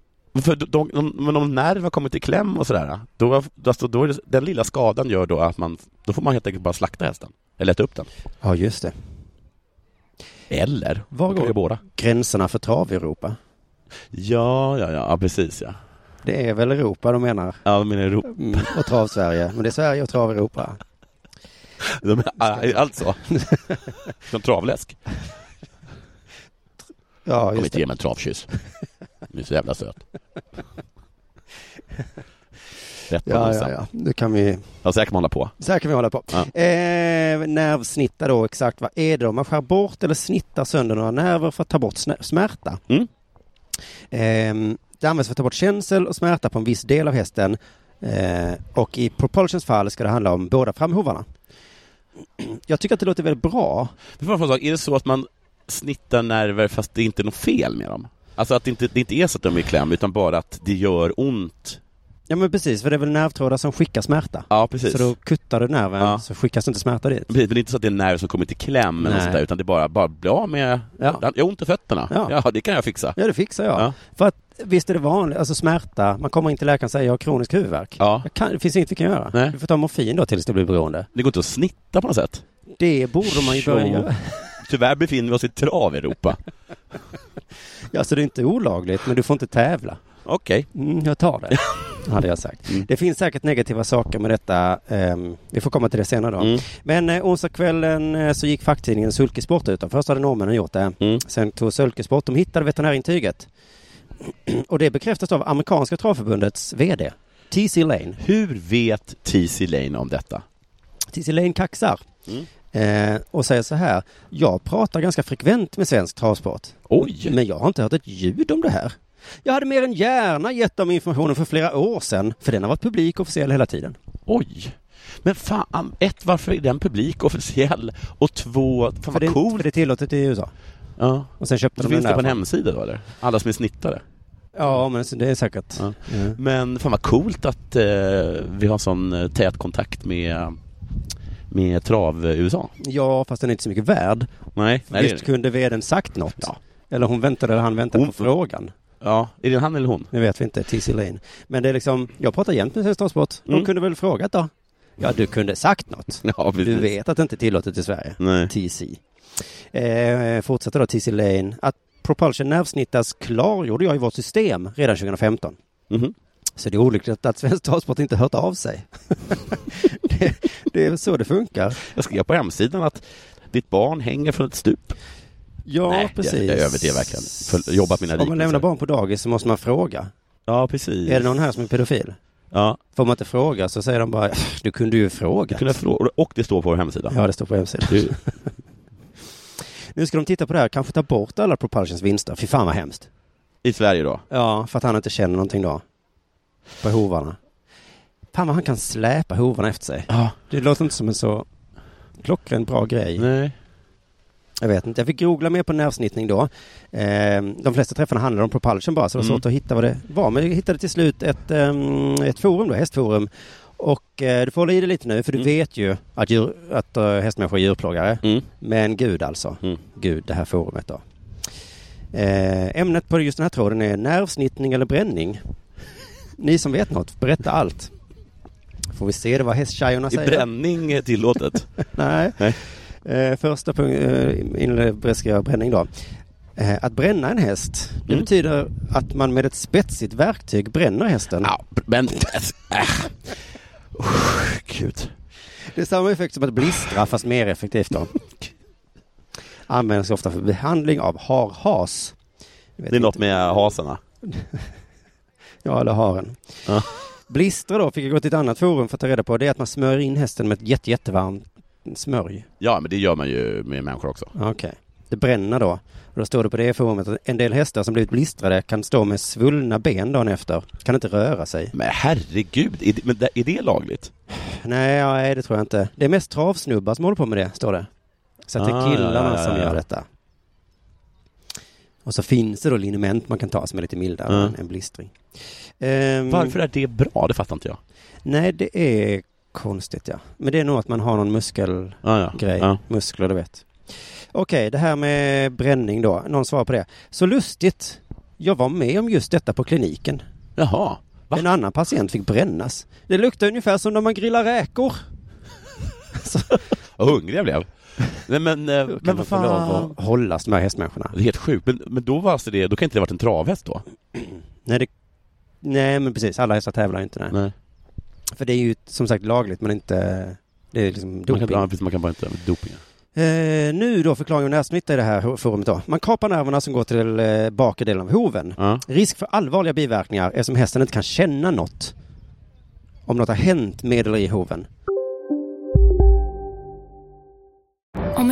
Speaker 2: För de, de, de, men om nerv har kommit i kläm och sådär, då, alltså, då är det, den lilla skadan gör då att man, då får man helt enkelt bara slakta hästen. Eller äta upp den.
Speaker 3: Ja, just det.
Speaker 2: Eller,
Speaker 3: Var
Speaker 2: då kan
Speaker 3: går-
Speaker 2: vi göra båda.
Speaker 3: Gränserna för trav-Europa.
Speaker 2: Ja, ja, ja, ja, precis ja.
Speaker 3: Det är väl Europa de menar.
Speaker 2: Ja, men Europa,
Speaker 3: Mm, *laughs* och trav-Sverige. Men det är Sverige och trav-Europa.
Speaker 2: de är alltså.
Speaker 3: *laughs*
Speaker 2: Som travläsk.
Speaker 3: Ja,
Speaker 2: Kom
Speaker 3: just
Speaker 2: inte
Speaker 3: det.
Speaker 2: ge mig en travkyss. Du är så jävla söt. Rätt på
Speaker 3: Ja, ja,
Speaker 2: nosen.
Speaker 3: ja. Nu kan vi...
Speaker 2: ja, så här kan man hålla på.
Speaker 3: Så här kan vi hålla på.
Speaker 2: Ja.
Speaker 3: Eh, nervsnittar då, exakt vad är det då? Man skär bort eller snittar sönder några nerver för att ta bort snä- smärta.
Speaker 2: Mm.
Speaker 3: Eh, det används för att ta bort känsel och smärta på en viss del av hästen. Eh, och i propulsions fall ska det handla om båda framhovarna. *clears throat* Jag tycker att det låter väldigt bra.
Speaker 2: Men får jag fråga en sak, är det så att man snittar nerver fast det är inte är något fel med dem? Alltså att det inte, det inte är så att de är i kläm, utan bara att det gör ont?
Speaker 3: Ja men precis, för det är väl nervtrådar som skickar smärta.
Speaker 2: Ja, precis.
Speaker 3: Så då kuttar du nerven
Speaker 2: Ja.
Speaker 3: så skickas inte smärta dit.
Speaker 2: Precis, men det är inte så att det är en nerv som kommit i kläm eller
Speaker 3: Nej.
Speaker 2: något sånt där, utan det är bara, bara bli av med...
Speaker 3: Ja.
Speaker 2: Jag har ont i fötterna.
Speaker 3: Ja.
Speaker 2: Ja. det kan jag fixa.
Speaker 3: Ja det fixar jag.
Speaker 2: Ja.
Speaker 3: För att visst är det vanligt, alltså smärta, man kommer in till läkaren och säger jag har kronisk huvudvärk.
Speaker 2: Ja.
Speaker 3: Jag kan, det finns inget vi kan göra.
Speaker 2: Nej.
Speaker 3: Du får ta morfin då tills du blir beroende.
Speaker 2: Det går inte att snitta på något sätt.
Speaker 3: Det borde man ju börja
Speaker 2: Jo.
Speaker 3: göra.
Speaker 2: Tyvärr befinner vi oss i trav-Europa.
Speaker 3: *laughs* Ja, så det är inte olagligt, men du får inte tävla.
Speaker 2: Okej.
Speaker 3: Mm, jag tar det, *laughs* hade jag sagt. Mm. Det finns säkert negativa saker med detta. ehm, vi får komma till det senare då.
Speaker 2: Mm.
Speaker 3: Men eh, onsdagskvällen eh, så gick facktidningen Sulkesport ut. då. Först hade norrmännen gjort det.
Speaker 2: Mm.
Speaker 3: Sen tog Sulkesport, de hittade veterinärintyget. *clears throat* Och det bekräftas av amerikanska travförbundets VD, TC Lane.
Speaker 2: Hur vet TC Lane om detta?
Speaker 3: Cissi Lane kaxar. Eh, och säger så här. Jag pratar ganska frekvent med svensk travsport.
Speaker 2: Oj!
Speaker 3: Men jag har inte hört ett ljud om det här. Jag hade mer än gärna gett dem informationen för flera år sedan. För den har varit publik och officiell hela tiden.
Speaker 2: Oj! Men fan, ett, varför är den publik officiell? Och två, fan
Speaker 3: För
Speaker 2: vad
Speaker 3: det,
Speaker 2: cool!
Speaker 3: för det är tillåtet i USA.
Speaker 2: Ja.
Speaker 3: Och sen köpte
Speaker 2: Så
Speaker 3: de den
Speaker 2: finns det på
Speaker 3: där.
Speaker 2: en hemsida då eller? Alla som är snittare.
Speaker 3: Ja, men det är säkert.
Speaker 2: Ja.
Speaker 3: Ja.
Speaker 2: Men fan vad coolt att eh, vi har sån eh, tät kontakt med, med trav-USA.
Speaker 3: Ja, fast den är inte så mycket värd.
Speaker 2: Nej, nej det är,
Speaker 3: Visst kunde vdn sagt något.
Speaker 2: Ja.
Speaker 3: Eller hon väntade, eller han väntade
Speaker 2: Hon-
Speaker 3: på frågan.
Speaker 2: ja, är det han eller hon?
Speaker 3: Nu vet vi inte, TC Lane. Men det är liksom, jag pratar jämt med Svensk Transport. De
Speaker 2: Mm.
Speaker 3: kunde väl frågat då? Ja, du kunde sagt något.
Speaker 2: *laughs* Ja,
Speaker 3: Du
Speaker 2: precis.
Speaker 3: vet att det inte är tillåtet i Sverige.
Speaker 2: Nej.
Speaker 3: TC. Eh, fortsätter då TC Lane. Att propulsion nervsnittas klargjorde jag i vårt system redan 2015.
Speaker 2: Mhm.
Speaker 3: Så det är olyckligt att Svensk Travsport inte hört av sig. *laughs* det, det är väl så det funkar.
Speaker 2: Jag skrev på hemsidan att ditt barn hänger från ett stup.
Speaker 3: Ja,
Speaker 2: Nej, jag-
Speaker 3: precis.
Speaker 2: jag överdrev verkligen. För- jobbat mina
Speaker 3: Om man
Speaker 2: liknelser.
Speaker 3: lämnar barn på dagis så måste man fråga.
Speaker 2: Ja, precis.
Speaker 3: Är det någon här som är pedofil?
Speaker 2: Ja,
Speaker 3: Får man inte fråga så säger de bara du kunde ju fråga.
Speaker 2: kunde jag fråga. Och det står på vår hemsida.
Speaker 3: Ja, det står på hemsidan.
Speaker 2: Du,
Speaker 3: *laughs* Nu ska de titta på det här, kanske ta bort alla Propulsions vinster. Fy fan vad hemskt.
Speaker 2: I Sverige då?
Speaker 3: Ja, för att han inte känner någonting då. På hovarna. Fan vad han kan släpa hovarna efter sig.
Speaker 2: Ja.
Speaker 3: Det låter inte som en så klockren bra grej.
Speaker 2: Nej.
Speaker 3: Jag vet inte, jag fick googla mer på nervsnittning då. Ehm, de flesta träffarna handlade om propulsion bara, så det var
Speaker 2: Mm.
Speaker 3: svårt att hitta vad det var. Men jag hittade till slut ett, ehm, ett forum då, hästforum. Och eh, du får hålla i dig lite nu, för du
Speaker 2: Mm.
Speaker 3: vet ju att, djur, att eh, hästmänniskor är djurplågare.
Speaker 2: Mm.
Speaker 3: Men Gud alltså.
Speaker 2: Mm.
Speaker 3: Gud, det här forumet då. Eh, ämnet på just den här tråden är nervsnittning eller bränning. Ni som vet något, berätta allt. Får vi se det vad hästtjejerna
Speaker 2: Är
Speaker 3: säger?
Speaker 2: bränning är tillåtet?
Speaker 3: Nej.
Speaker 2: Nej.
Speaker 3: Eh, första punkten eh, beskriver bränning då. Eh, att bränna en häst, det
Speaker 2: Mm.
Speaker 3: betyder att man med ett spetsigt verktyg bränner hästen.
Speaker 2: *laughs* ja, men... Äh. Oh, Gud.
Speaker 3: Det är samma effekt som att blistra, fast mer
Speaker 2: *laughs*
Speaker 3: effektivt då. Används ofta för behandling av harhas. Jag vet
Speaker 2: Det är
Speaker 3: inte.
Speaker 2: något med hasarna.
Speaker 3: Ja, eller haren.
Speaker 2: Ja.
Speaker 3: Blistra då, fick jag gå till ett annat forum för att ta reda på, det är att man smörjer in hästen med ett jätte, jättevarmt smörj.
Speaker 2: Ja, men det gör man ju med människor också.
Speaker 3: Ja, Okej. Det bränner då. Och då står det på det forumet att en del hästar som blivit blistrade kan stå med svullna ben dagen efter. Kan inte röra sig.
Speaker 2: Men herregud, är det, men det- är det lagligt?
Speaker 3: Nej, ja, nej, det tror jag inte. Det är mest travsnubbar som håller på med det, står det. Så att det
Speaker 2: Ah,
Speaker 3: är killarna
Speaker 2: ja, ja, ja,
Speaker 3: som
Speaker 2: ja.
Speaker 3: gör detta. Och så finns det då liniment man kan ta som är lite mildare
Speaker 2: Mm.
Speaker 3: än- än blistring. Ehm,
Speaker 2: Varför är det bra? Det fattar inte jag.
Speaker 3: Nej, det är konstigt ja. Men det är nog att man har någon muskel...
Speaker 2: Ah, Ja, ja.
Speaker 3: grej.
Speaker 2: Ja.
Speaker 3: Muskler, du vet. Okej, det här med bränning då. Någon svarar på det. Så lustigt. Jag var med om just detta på kliniken.
Speaker 2: Jaha. Va?
Speaker 3: En annan patient fick brännas. Det luktar ungefär som när man grillar räkor.
Speaker 2: Vad hungrig jag blev. Nej, men, *laughs* eh,
Speaker 3: Då kan
Speaker 2: men
Speaker 3: man
Speaker 2: vad
Speaker 3: få lov
Speaker 2: fan.
Speaker 3: att hållas de här hästmänniskorna.
Speaker 2: Det är helt sjukt. Men, men då var alltså det, då kan inte det ha varit en travhäst då?
Speaker 3: Nej, det... nej, men precis. Alla hästar tävlar ju inte. Nej.
Speaker 2: Nej.
Speaker 3: För det är ju som sagt lagligt, men inte... Det är liksom
Speaker 2: Man
Speaker 3: doping.
Speaker 2: kan, ja, precis, man kan bara inte... Doping. ja.
Speaker 3: Eh, nu då förklarar om nervsmitta i det här forumet då. Man kapar nerverna som går till eh, bakre delen av hoven.
Speaker 2: Ja.
Speaker 3: Risk för allvarliga biverkningar eftersom hästen inte kan känna något om något har hänt med eller i hoven.
Speaker 5: Om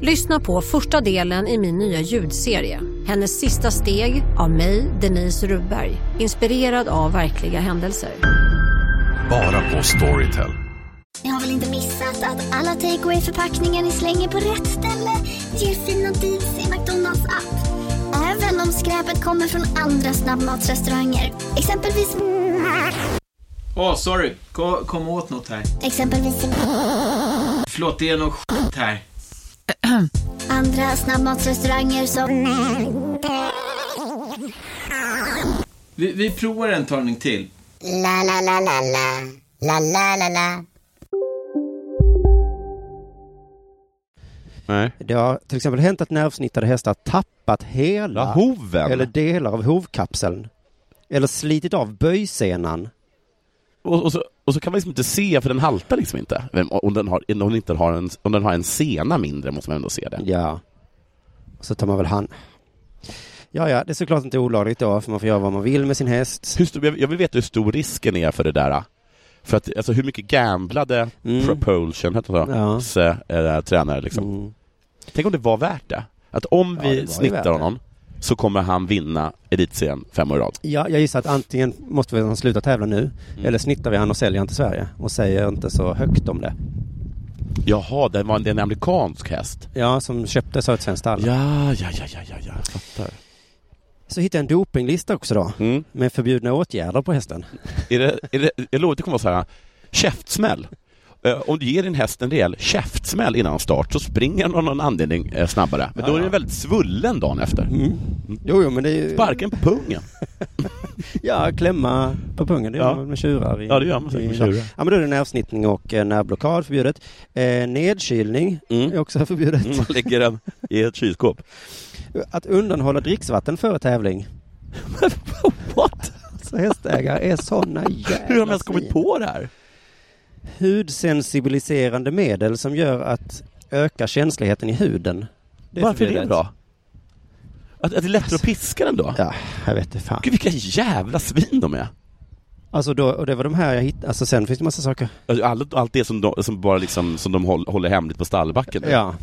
Speaker 6: Lyssna på första delen i min nya ljudserie. Hennes sista steg av mig, Denise Rubberg. Inspirerad av verkliga händelser.
Speaker 4: Bara på Storytel.
Speaker 7: Ni har väl inte missat att alla takeaway förpackningar ni slänger på rätt ställe ger fina deals i McDonalds app. Även om skräpet kommer från andra snabbmatsrestauranger. Exempelvis...
Speaker 8: Åh, sorry. Kom, kom åt något här.
Speaker 7: Exempelvis...
Speaker 8: Förlåt, det är något skit här.
Speaker 7: Andra snabbmatsrestauranger som...
Speaker 8: Vi, vi provar en talning till.
Speaker 7: La, la, la, la, la. La, la, la, la.
Speaker 2: Nej.
Speaker 3: Det har till exempel hänt att nervsnittade hästar tappat hela
Speaker 2: Ja, hoven!
Speaker 3: eller delar av hovkapseln. Eller slitit av böjsenan.
Speaker 2: Och, och, så, och så kan man liksom inte se, för den haltar liksom inte. Men Om den, har, om den, inte har, en, om den har en sena mindre måste man ändå se det.
Speaker 3: Ja. Och så tar man väl hand... Ja, ja, det är såklart inte olagligt då, för man får göra vad man vill med sin häst.
Speaker 2: Hur stor, jag jag vill veta hur stor risken är för det där. För att, alltså hur mycket gamblade
Speaker 3: Mm.
Speaker 2: Propulsion, hette han så?
Speaker 3: Ja.
Speaker 2: S, eh, tränare liksom.
Speaker 3: Mm.
Speaker 2: Tänk om det var värt det? Att om
Speaker 3: Ja, det var
Speaker 2: vi
Speaker 3: ju värt
Speaker 2: snittar
Speaker 3: det.
Speaker 2: honom så kommer han vinna Elitserien fem år i rad.
Speaker 3: Ja, jag gissar att antingen måste vi han
Speaker 2: Mm.
Speaker 3: sluta tävla nu, eller snittar vi han och säljer han till Sverige. Och säger inte så högt om det.
Speaker 2: Jaha, det var en, det är en amerikansk häst.
Speaker 3: Ja, som köptes av ett svenskt stall.
Speaker 2: Ja, ja, ja, ja, ja, ja, jag
Speaker 3: *laughs*
Speaker 2: fattar.
Speaker 3: Så hittade jag en dopinglista också då,
Speaker 2: Mm.
Speaker 3: med förbjudna åtgärder på hästen.
Speaker 2: Är det, är det, jag lovar att det kommer att vara så här, käftsmäll. Eh, Om du ger din häst en rejäl käftsmäll innan start så springer den av någon anledning eh, snabbare. Men då är den väldigt svullen dagen efter.
Speaker 3: Mm. Jo, jo, men det är ju...
Speaker 2: Sparken på pungen.
Speaker 3: Ja, klämma på pungen, det gör
Speaker 2: Ja.
Speaker 3: man väl med tjurar. I,
Speaker 2: Ja, det gör man säkert
Speaker 3: i-
Speaker 2: med tjurar.
Speaker 3: Ja, men då är det nervsnittning och eh, nervblockad förbjudet. Eh, nedkylning
Speaker 2: Mm.
Speaker 3: är också
Speaker 2: *laughs*
Speaker 3: förbjudet.
Speaker 2: Man lägger den i ett kylskåp.
Speaker 3: Att undanhålla dricksvatten före tävling.
Speaker 2: What?
Speaker 3: Så hästägare är såna jävla
Speaker 2: Hur har de ens
Speaker 3: svin.
Speaker 2: kommit på det här?
Speaker 3: Hudsensibiliserande medel som gör att öka känsligheten i huden. är
Speaker 2: Varför är det
Speaker 3: förbjudet.
Speaker 2: bra? Att, att det är lättare att piska den då?
Speaker 3: Ja, jag vet inte fan.
Speaker 2: Gud vilka jävla svin de är!
Speaker 3: Alltså då, och det var de här jag hittade. Alltså sen finns det massa saker.
Speaker 2: Alltså, Allt, allt det som de, som bara liksom, som de håll, håller hemligt på stallbacken.
Speaker 3: Ja.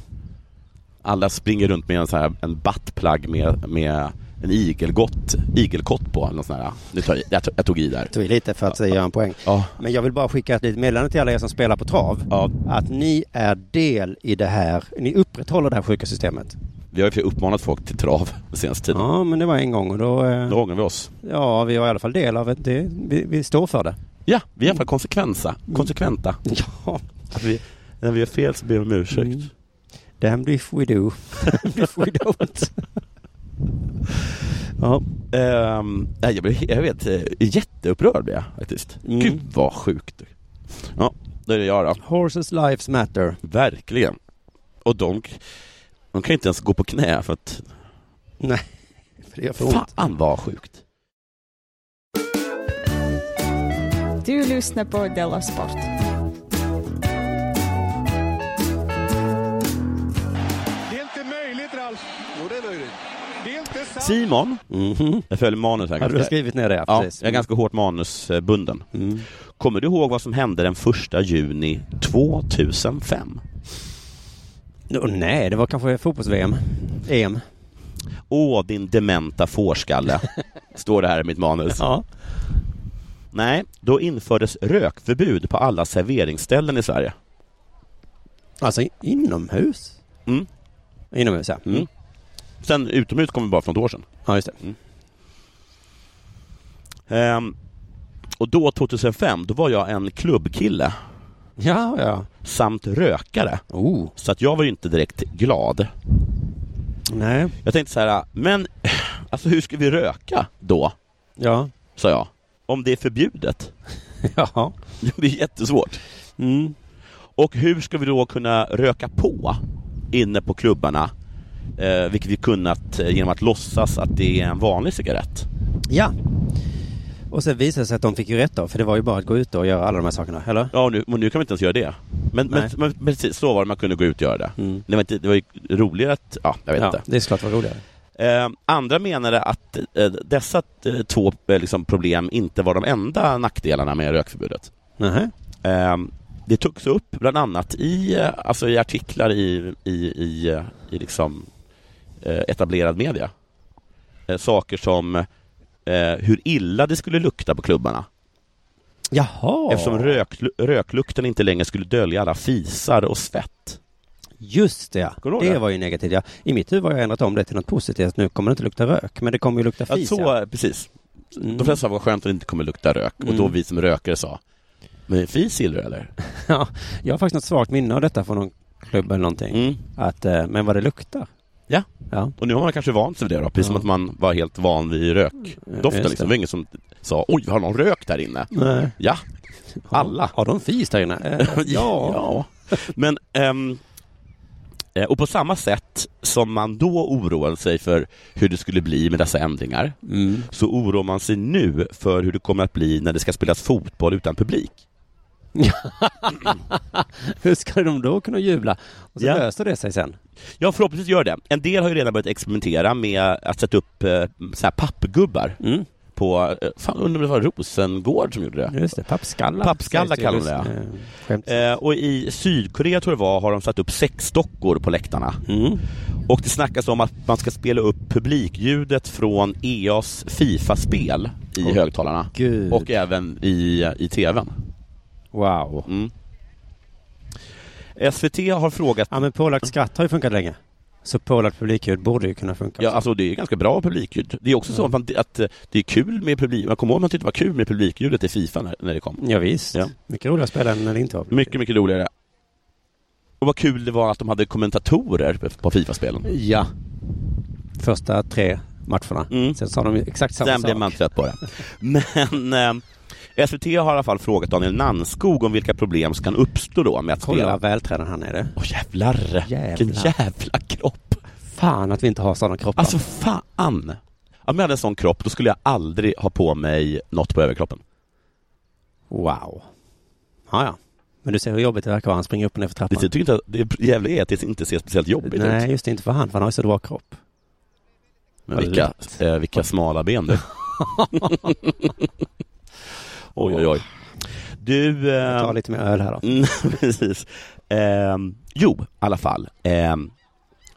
Speaker 2: Alla springer runt med en, så här, en buttplug med, med en igelgott, igelkott på. eller Något sånt här. Nu tar jag, i. jag, tog, jag tog i där.
Speaker 3: Tog i lite för att säga göra en poäng.
Speaker 2: Ja.
Speaker 3: Men jag vill bara skicka ett litet meddelande till alla er som spelar på trav.
Speaker 2: Ja,
Speaker 3: Att ni är del i det här. Ni upprätthåller det här sjuka systemet.
Speaker 2: vi har ju för uppmanat folk till trav den senaste tiden.
Speaker 3: Ja, men det var en gång och då... eh,
Speaker 2: Då ångrar vi oss.
Speaker 3: Ja, vi har i alla fall del av det. Vi, vi står för det.
Speaker 2: Ja, vi är i alla fall konsekvensa, konsekventa.
Speaker 3: Ja.
Speaker 2: Mm. Att vi, när vi gör fel så ber vi om ursäkt.
Speaker 3: Damned Mm. if we do. Damned if we don't. ja.
Speaker 2: Ehm, nej, jag, blir, jag vet, eh, jätteupprörd blir jag faktiskt.
Speaker 3: Mm.
Speaker 2: Gud vad sjukt. Ja, det är det jag då.
Speaker 3: Horses lives matter.
Speaker 2: Verkligen. Och de, de kan ju inte ens gå på knä för att...
Speaker 3: För det gör för ont.
Speaker 2: Fan vad sjukt.
Speaker 9: Du lyssnar på Della Sport.
Speaker 2: Simon,
Speaker 3: Mhm.
Speaker 2: jag följer manus här.
Speaker 3: Hade du
Speaker 2: ganska-
Speaker 3: skrivit ner det? Ja,
Speaker 2: Ja,
Speaker 3: precis.
Speaker 2: jag är ganska hårt manusbunden.
Speaker 3: Mm.
Speaker 2: Kommer du ihåg vad som hände den första juni 2005?
Speaker 3: Nå, nej, det var kanske fotbolls-VM. EM.
Speaker 2: Åh, din dementa fårskalle, *laughs* står det här i mitt manus.
Speaker 3: Ja.
Speaker 2: Nej, då infördes rökförbud på alla serveringsställen i Sverige.
Speaker 3: Alltså inomhus?
Speaker 2: Mm.
Speaker 3: Inomhus, ja.
Speaker 2: Mm. Sen utomhus kom vi bara för något år sedan.
Speaker 3: Ja, just det.
Speaker 2: Ehm, och då, 2005, då var jag en klubbkille
Speaker 3: Ja, ja.
Speaker 2: samt rökare.
Speaker 3: Oh.
Speaker 2: Så att jag var ju inte direkt glad.
Speaker 3: Nej.
Speaker 2: Jag tänkte så här, men alltså hur ska vi röka då?
Speaker 3: Ja.
Speaker 2: Sa jag. Om det är förbjudet.
Speaker 3: *laughs* Ja.
Speaker 2: Det blir jättesvårt.
Speaker 3: Mm.
Speaker 2: Och hur ska vi då kunna röka på inne på klubbarna? Eh, vilket vi kunnat eh, genom att låtsas att det är en vanlig cigarett.
Speaker 3: Ja. Och sen visade det sig att de fick ju rätt då, för det var ju bara att gå ut och göra alla de här sakerna, eller?
Speaker 2: Ja, nu, men nu kan vi inte ens göra det. Men, men,
Speaker 3: Nej.
Speaker 2: men precis, så var det, man kunde gå ut och göra det.
Speaker 3: Mm.
Speaker 2: Det, var inte, det var ju roligare att, ja, jag vet inte.
Speaker 3: det är såklart var roligare.
Speaker 2: Eh, andra menade att eh, dessa eh, två eh, liksom, problem inte var de enda nackdelarna med rökförbudet.
Speaker 3: Nähä.
Speaker 2: Eh, det togs upp bland annat i, eh, alltså i artiklar i, i, i, eh, i liksom, eh, etablerad media. Eh, saker som eh, hur illa det skulle lukta på klubbarna
Speaker 3: Jaha.
Speaker 2: eftersom rök, röklukten inte längre skulle dölja alla fisar och svett.
Speaker 3: Just det,
Speaker 2: Kommer du
Speaker 3: det,
Speaker 2: ihåg
Speaker 3: det
Speaker 2: det?
Speaker 3: var ju negativt. Ja. I mitt huvud har jag ändrat om det till något positivt. Nu kommer det inte lukta rök, men det kommer ju lukta
Speaker 2: Ja,
Speaker 3: fis.
Speaker 2: så,
Speaker 3: ja. *laughs*
Speaker 2: eh, precis.
Speaker 3: Mm.
Speaker 2: De flesta sa vad skönt att det inte kommer lukta rök och då
Speaker 3: Mm.
Speaker 2: vi som rökare sa men fis gillar du eller?
Speaker 3: Ja, jag har faktiskt något svagt minne av detta från någon klubb eller någonting.
Speaker 2: Mm.
Speaker 3: Att, eh, men vad det luktar.
Speaker 2: Ja.
Speaker 3: Ja.
Speaker 2: Och nu har man kanske vant sig vid det då, precis som
Speaker 3: Ja.
Speaker 2: att man var helt van vid
Speaker 3: Just
Speaker 2: rökdoften.
Speaker 3: det.
Speaker 2: Liksom. Det var ingen som sa oj, har någon rök där inne?
Speaker 3: Nej. *laughs*
Speaker 2: Ja, alla.
Speaker 3: Har de fis där inne? *laughs* Eh,
Speaker 2: ja. Men, ehm, eh, och på samma sätt som man då oroade sig för hur det skulle bli med dessa ändringar,
Speaker 3: Mm.
Speaker 2: så oroar man sig nu för hur det kommer att bli när det ska spelas fotboll utan publik.
Speaker 3: *laughs* Hur ska de då kunna jubla? Och så
Speaker 2: Ja.
Speaker 3: löser det sig sen.
Speaker 2: Ja, förhoppningsvis gör det. En del har ju redan börjat experimentera med att sätta upp eh, så här pappgubbar
Speaker 3: Mm.
Speaker 2: på, eh, fan undrar om det var Rosengård som gjorde det?
Speaker 3: Just det, pappskallar.
Speaker 2: Pappskallar
Speaker 3: Sägs ju.
Speaker 2: kallar de det,
Speaker 3: Eh, Skämt.
Speaker 2: Eh, och i Sydkorea tror jag det var, har de satt upp sex dockor på läktarna.
Speaker 3: Mm.
Speaker 2: Och det snackas om att man ska spela upp publikljudet från EAs Fifa-spel i
Speaker 3: Åh,
Speaker 2: högtalarna.
Speaker 3: Gud.
Speaker 2: Och även i, i TVn.
Speaker 3: Wow.
Speaker 2: Mm. SVT har frågat...
Speaker 3: Ja, men pålagt skratt har ju funkat länge. Så pålagt publikljud borde ju kunna funka.
Speaker 2: Ja, alltså det är ganska bra publikljud. Det är också så att, man, att eh, det är kul med publik... Man kommer ihåg att man tyckte det var kul med publikljudet i Fifa när, när det kom.
Speaker 3: Ja, visst.
Speaker 2: Ja.
Speaker 3: Mycket roligare att spela än när det inte var.
Speaker 2: Mycket, mycket roligare. Och vad kul det var att de hade kommentatorer på- på Fifa-spelen.
Speaker 3: Ja. Första tre matcherna.
Speaker 2: Mm.
Speaker 3: Sen sa de ju exakt samma
Speaker 2: Sen
Speaker 3: sak.
Speaker 2: blev man trött på det. Men eh, SVT har i alla fall frågat Daniel Nannskog om vilka problem som kan uppstå då med att
Speaker 3: Kolla
Speaker 2: spela.
Speaker 3: vad vältränad han är det.
Speaker 2: Åh jävlar! Vilken jävla kropp!
Speaker 3: Fan att vi inte har sådana kroppar.
Speaker 2: Alltså fan! Om jag hade en sån kropp, då skulle jag aldrig ha på mig något på överkroppen.
Speaker 3: Wow. Ja, ja. Men du ser hur jobbigt det verkar vara. Han springer upp och ner för
Speaker 2: Det,
Speaker 3: trappan.
Speaker 2: jag tycker inte, att- det jävliga är att det inte ser speciellt jobbigt
Speaker 3: Nej,
Speaker 2: ut.
Speaker 3: just det. Inte för han. För han har ju så bra kropp.
Speaker 2: Men vilka, eh, vilka smala ben du. *laughs* oj, oj, oj. Du... Eh, jag *laughs* tar
Speaker 3: lite mer öl här då.
Speaker 2: Mm. precis. Ehm, jo, i alla fall. Ehm,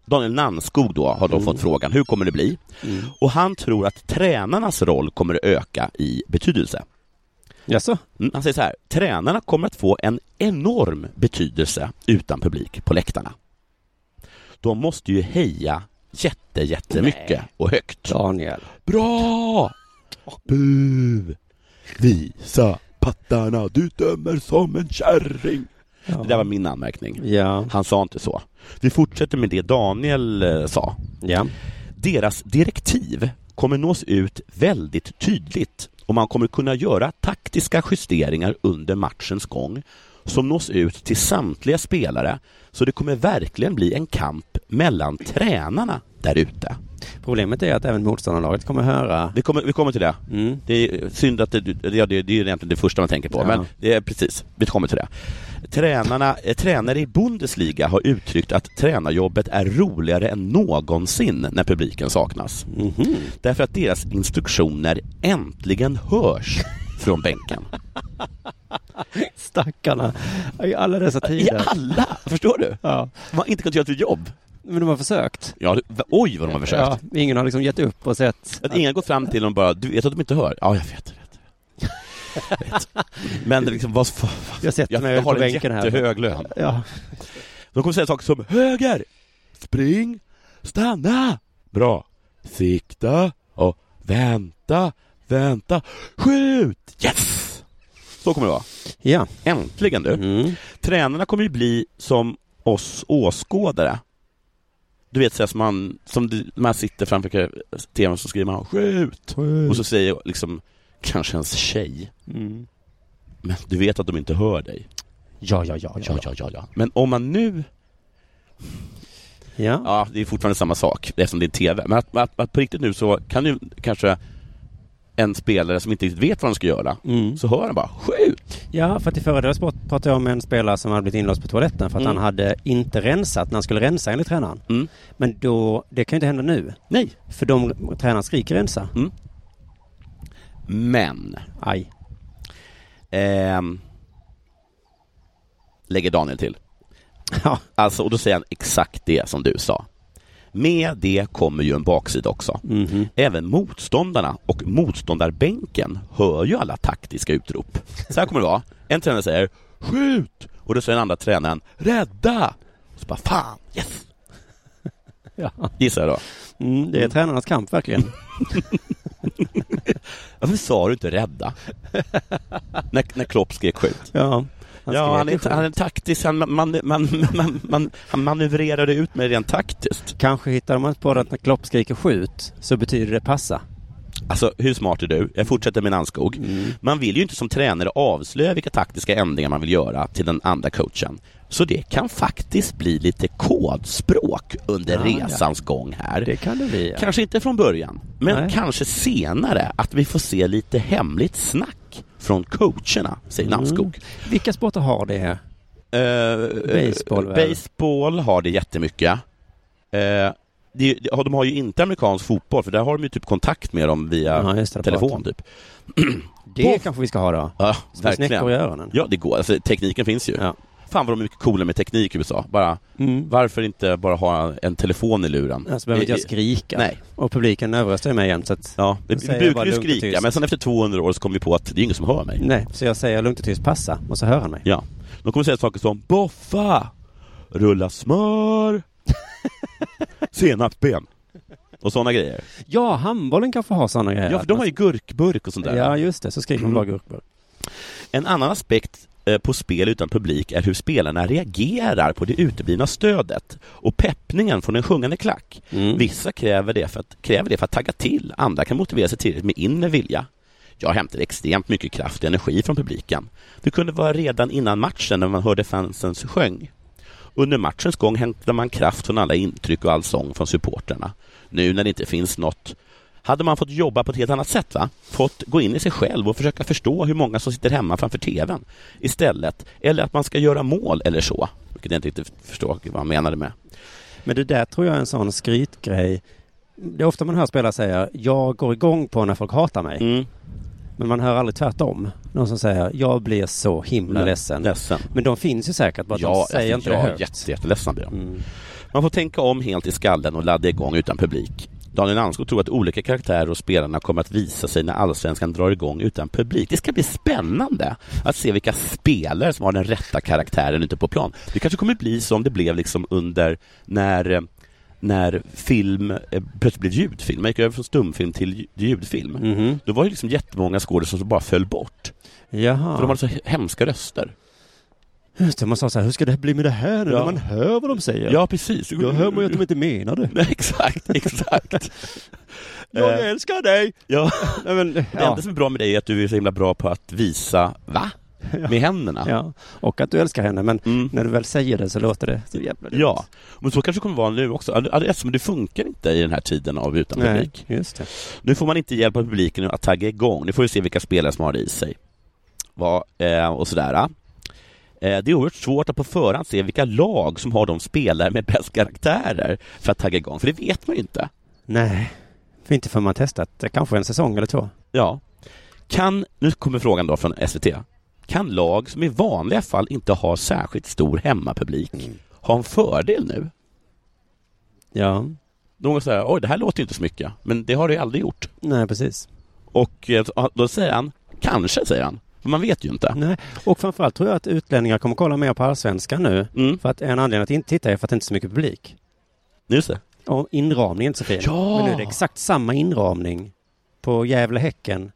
Speaker 2: Daniel Nannskog då har då fått frågan, hur kommer det bli? Och han tror att tränarnas roll kommer att öka i betydelse.
Speaker 3: Jaså?
Speaker 2: Mm, han säger så här, tränarna kommer att få en enorm betydelse utan publik på läktarna. De måste ju heja jätte, jättemycket och högt.
Speaker 3: Daniel.
Speaker 2: Bra! Bu! Visa pattarna, du dömer som en kärring! Det där var min anmärkning.
Speaker 3: Ja.
Speaker 2: Han sa inte så. Vi fortsätter med det Daniel eh, sa.
Speaker 3: Ja.
Speaker 2: Deras direktiv kommer nås ut väldigt tydligt och man kommer kunna göra taktiska justeringar under matchens gång som nås ut till samtliga spelare så det kommer verkligen bli en kamp mellan tränarna där ute.
Speaker 3: Problemet är att även motståndarlaget kommer höra...
Speaker 2: Vi kommer, vi kommer till det. Det är eh, synd att det, det, ja, det, det är egentligen det första man tänker på,
Speaker 3: Ja.
Speaker 2: men det är precis, vi kommer till det. Tränarna, eh, tränare i Bundesliga har uttryckt att tränarjobbet är roligare än någonsin när publiken saknas. Därför att deras instruktioner äntligen hörs från bänken.
Speaker 3: Stackarna. I alla dessa
Speaker 2: *laughs* I
Speaker 3: tider.
Speaker 2: alla, förstår du?
Speaker 3: Ja.
Speaker 2: De har inte kunnat göra sitt jobb.
Speaker 3: Men de har försökt.
Speaker 2: Ja, det- oj vad de har försökt.
Speaker 3: Ja, ingen har liksom gett upp och sett...
Speaker 2: Att ingen har gått fram till dem och bara, du vet att de inte hör? Ja, jag vet. jag vet, jag vet. *laughs* Men liksom, vad fan.
Speaker 3: Jag sätter mig
Speaker 2: jag har
Speaker 3: på
Speaker 2: en
Speaker 3: bänken här.
Speaker 2: jättehög lön.
Speaker 3: Ja.
Speaker 2: De kommer säga saker som höger, spring, stanna, bra, sikta och vänta, vänta, skjut, yes! Så kommer det vara.
Speaker 3: Ja.
Speaker 2: Äntligen du.
Speaker 3: Mm.
Speaker 2: Tränarna kommer ju bli som oss åskådare. Du vet så här som man, som du- man sitter framför tvn så skriver man skjut.
Speaker 3: Skjut.
Speaker 2: Och så säger liksom kanske ens tjej.
Speaker 3: Mm.
Speaker 2: Men du vet att de inte hör dig.
Speaker 3: Ja, ja, ja,
Speaker 2: ja, ja, ja, ja. Men om man nu...
Speaker 3: Ja.
Speaker 2: ja, det är fortfarande samma sak eftersom det är TV. Men att, att, att på riktigt nu så kan ju kanske en spelare som inte riktigt vet vad de ska göra,
Speaker 3: Mm.
Speaker 2: så hör han bara skjut!
Speaker 3: Ja, för att i förra sport pratade jag om en spelare som hade blivit inlåst på toaletten för att
Speaker 2: Mm.
Speaker 3: han hade inte rensat när han skulle rensa enligt tränaren. Men då, det kan ju inte hända nu.
Speaker 2: Nej.
Speaker 3: För de, tränaren skriker rensa.
Speaker 2: Men...
Speaker 3: Aj.
Speaker 2: Ehm, lägger Daniel till.
Speaker 3: *laughs* Ja.
Speaker 2: Alltså, och då säger han exakt det som du sa. Med det kommer ju en baksida också.
Speaker 3: Mm.
Speaker 2: Även motståndarna och motståndarbänken hör ju alla taktiska utrop. Så här kommer det vara. En tränare säger ”skjut” och då säger den andra tränaren ”rädda”. Och så bara ”fan, yes”.
Speaker 3: *laughs* Ja.
Speaker 2: Gissar jag då.
Speaker 3: Mm, det är tränarnas
Speaker 2: *laughs*
Speaker 3: kamp verkligen.
Speaker 2: Varför sa du inte
Speaker 3: *laughs*
Speaker 2: rädda? när, när Klopp skrek skjut.
Speaker 3: Ja.
Speaker 2: Han
Speaker 3: Han
Speaker 2: ja,
Speaker 3: skrek
Speaker 2: han
Speaker 3: ju
Speaker 2: är,
Speaker 3: skjut.
Speaker 2: han är taktisk. Han, man, man, man, man, man, han manövrerar det ut med rent taktiskt.
Speaker 3: Kanske hittar man på att när Klopp skriker skjut så betyder det passa.
Speaker 2: Alltså, hur smart är du? Jag fortsätter med Nannskog.
Speaker 3: Mm.
Speaker 2: Man vill ju inte som tränare avslöja vilka taktiska ändringar man vill göra till den andra coachen. Så det kan faktiskt bli lite kodspråk under
Speaker 3: Ah, Ja, ja.
Speaker 2: resans gång här.
Speaker 3: Det kan det bli. Ja.
Speaker 2: Kanske inte från början, men
Speaker 3: Nej.
Speaker 2: kanske senare att vi får se lite hemligt snack från coacherna, säger
Speaker 3: Mm.
Speaker 2: Nannskog.
Speaker 3: Vilka sporter har det?
Speaker 2: Eh,
Speaker 3: Baseball,
Speaker 2: eh,
Speaker 3: väl?
Speaker 2: baseball har det jättemycket. Eh, det, det- de har ju inte amerikansk fotboll för där har de ju typ kontakt med dem via
Speaker 3: Ja, just det, det
Speaker 2: telefon
Speaker 3: pratar
Speaker 2: typ.
Speaker 3: Det
Speaker 2: Boff!
Speaker 3: kanske vi ska ha då.
Speaker 2: Ja,
Speaker 3: Små snäckor i
Speaker 2: verkligen.
Speaker 3: öronen.
Speaker 2: Ja, det går. Alltså, tekniken finns ju. Fan vad de är mycket coola med teknik i USA. Bara,
Speaker 3: Mm.
Speaker 2: Varför inte bara ha en telefon i luren?
Speaker 3: Ja, så Alltså, behöver inte jag
Speaker 2: I- i-
Speaker 3: skrika.
Speaker 2: Nej.
Speaker 3: Och publiken överröstar ju mig jämt så att...
Speaker 2: Ja, vi,
Speaker 3: Då
Speaker 2: vi
Speaker 3: säger jag
Speaker 2: brukar
Speaker 3: bara
Speaker 2: ju
Speaker 3: lugnt och
Speaker 2: skrika
Speaker 3: tyst.
Speaker 2: men sen efter 200 år så kom vi på att det är ingen som hör mig.
Speaker 3: Nej, så jag säger lugnt och tyst passa och så hör han mig.
Speaker 2: Ja. De kommer säga saker som ”Boffa! rulla smör, senapsben och sådana grejer.
Speaker 3: Ja, handbollen kanske har sådana grejer. Alltså,
Speaker 2: Ja, för de har ju gurkburk och sånt där.
Speaker 3: Ja, just det. Så skriver man bara
Speaker 2: Mm.
Speaker 3: gurkburk.
Speaker 2: En annan aspekt eh, på spel utan publik är hur spelarna reagerar på det uteblivna stödet och peppningen från en sjungande klack. Vissa kräver det, för att, kräver det för att tagga till, andra kan motivera sig tillräckligt med inre vilja. Jag hämtade extremt mycket kraft och energi från publiken. Det kunde vara redan innan matchen när man hörde fansens sjöng. Under matchens gång hämtade man kraft från alla intryck och all sång från supporterna. Nu när det inte finns något hade man fått jobba på ett helt annat sätt, va? fått gå in i sig själv och försöka förstå hur många som sitter hemma framför TVn istället, eller att man ska göra mål eller så, vilket jag inte riktigt förstår vad han menade med.
Speaker 3: Men det där tror jag är en sån skrytgrej. Det är ofta man hör spelare säga jag går igång på när folk hatar mig. Men man hör aldrig tvärtom. Någon som säger jag blir så himla
Speaker 2: Le-
Speaker 3: ledsen.
Speaker 2: ledsen.
Speaker 3: Men de finns ju säkert bara att
Speaker 2: ja,
Speaker 3: de säger
Speaker 2: alltså,
Speaker 3: inte
Speaker 2: ja,
Speaker 3: det högt. Mm.
Speaker 2: jätte- jätteledsen blir de. Man får tänka om helt i skallen och ladda igång utan publik. Daniel Nansko tror att olika karaktärer och spelarna kommer att visa sig när allsvenskan drar igång utan publik. Det ska bli spännande att se vilka spelare som har den rätta karaktären ute på plan. Det kanske kommer bli som det blev liksom under när eh, när film eh, plötsligt blev ljudfilm, man gick över från stumfilm till lj- ljudfilm.
Speaker 3: Mm. Mhm.
Speaker 2: Då var det liksom jättemånga skådespelare som bara föll bort.
Speaker 3: Jaha.
Speaker 2: För de hade så he- hemska röster.
Speaker 3: Just det, man sa så här, hur ska det bli med det här nu
Speaker 2: Ja.
Speaker 3: när man hör vad de säger?
Speaker 2: Ja, precis.
Speaker 3: Jag hör mig att de inte menar det.
Speaker 2: Nej, *laughs* exakt, exakt.
Speaker 3: jag
Speaker 2: Eh,
Speaker 3: älskar dig!
Speaker 2: Ja.
Speaker 3: Nej, men,
Speaker 2: Det
Speaker 3: ja.
Speaker 2: enda som är bra med dig är att du är så himla bra på att visa va? Med händerna.
Speaker 3: *laughs* Ja. Och att du älskar henne, men när du väl säger det så låter det så jävla dumt.
Speaker 2: Ja, men så kanske det kommer vara nu också. Ad- ad- Eftersom det funkar inte i den här tiden av utan
Speaker 3: Nej,
Speaker 2: publik.
Speaker 3: just det.
Speaker 2: Nu får man inte hjälpa publiken att tagga igång. Nu får vi se vilka spelare som har det i sig. Vad, eh, och sådär. eh. Eh, Det är oerhört svårt att på förhand se vilka lag som har de spelare med bäst karaktärer för att tagga igång, för det vet man ju inte.
Speaker 3: Nej, för inte förrän man testat eh, kanske en säsong eller två.
Speaker 2: Ja. Kan, nu kommer frågan då från SVT. Kan lag som i vanliga fall inte har särskilt stor hemmapublik ha en fördel nu?
Speaker 3: Ja.
Speaker 2: Någon säger oj det här låter ju inte så mycket, men det har det ju aldrig gjort.
Speaker 3: Nej, precis.
Speaker 2: Och eh, då säger han, kanske säger han, för man vet ju inte.
Speaker 3: Nej. Och framförallt tror jag att utlänningar kommer kolla mer på allsvenskan nu.
Speaker 2: Mm.
Speaker 3: För att en anledning att inte titta är för att det inte är så mycket publik.
Speaker 2: Just det.
Speaker 3: Och inramningen är inte så fin.
Speaker 2: Ja!
Speaker 3: Men nu är det exakt samma inramning på Gävle-Häcken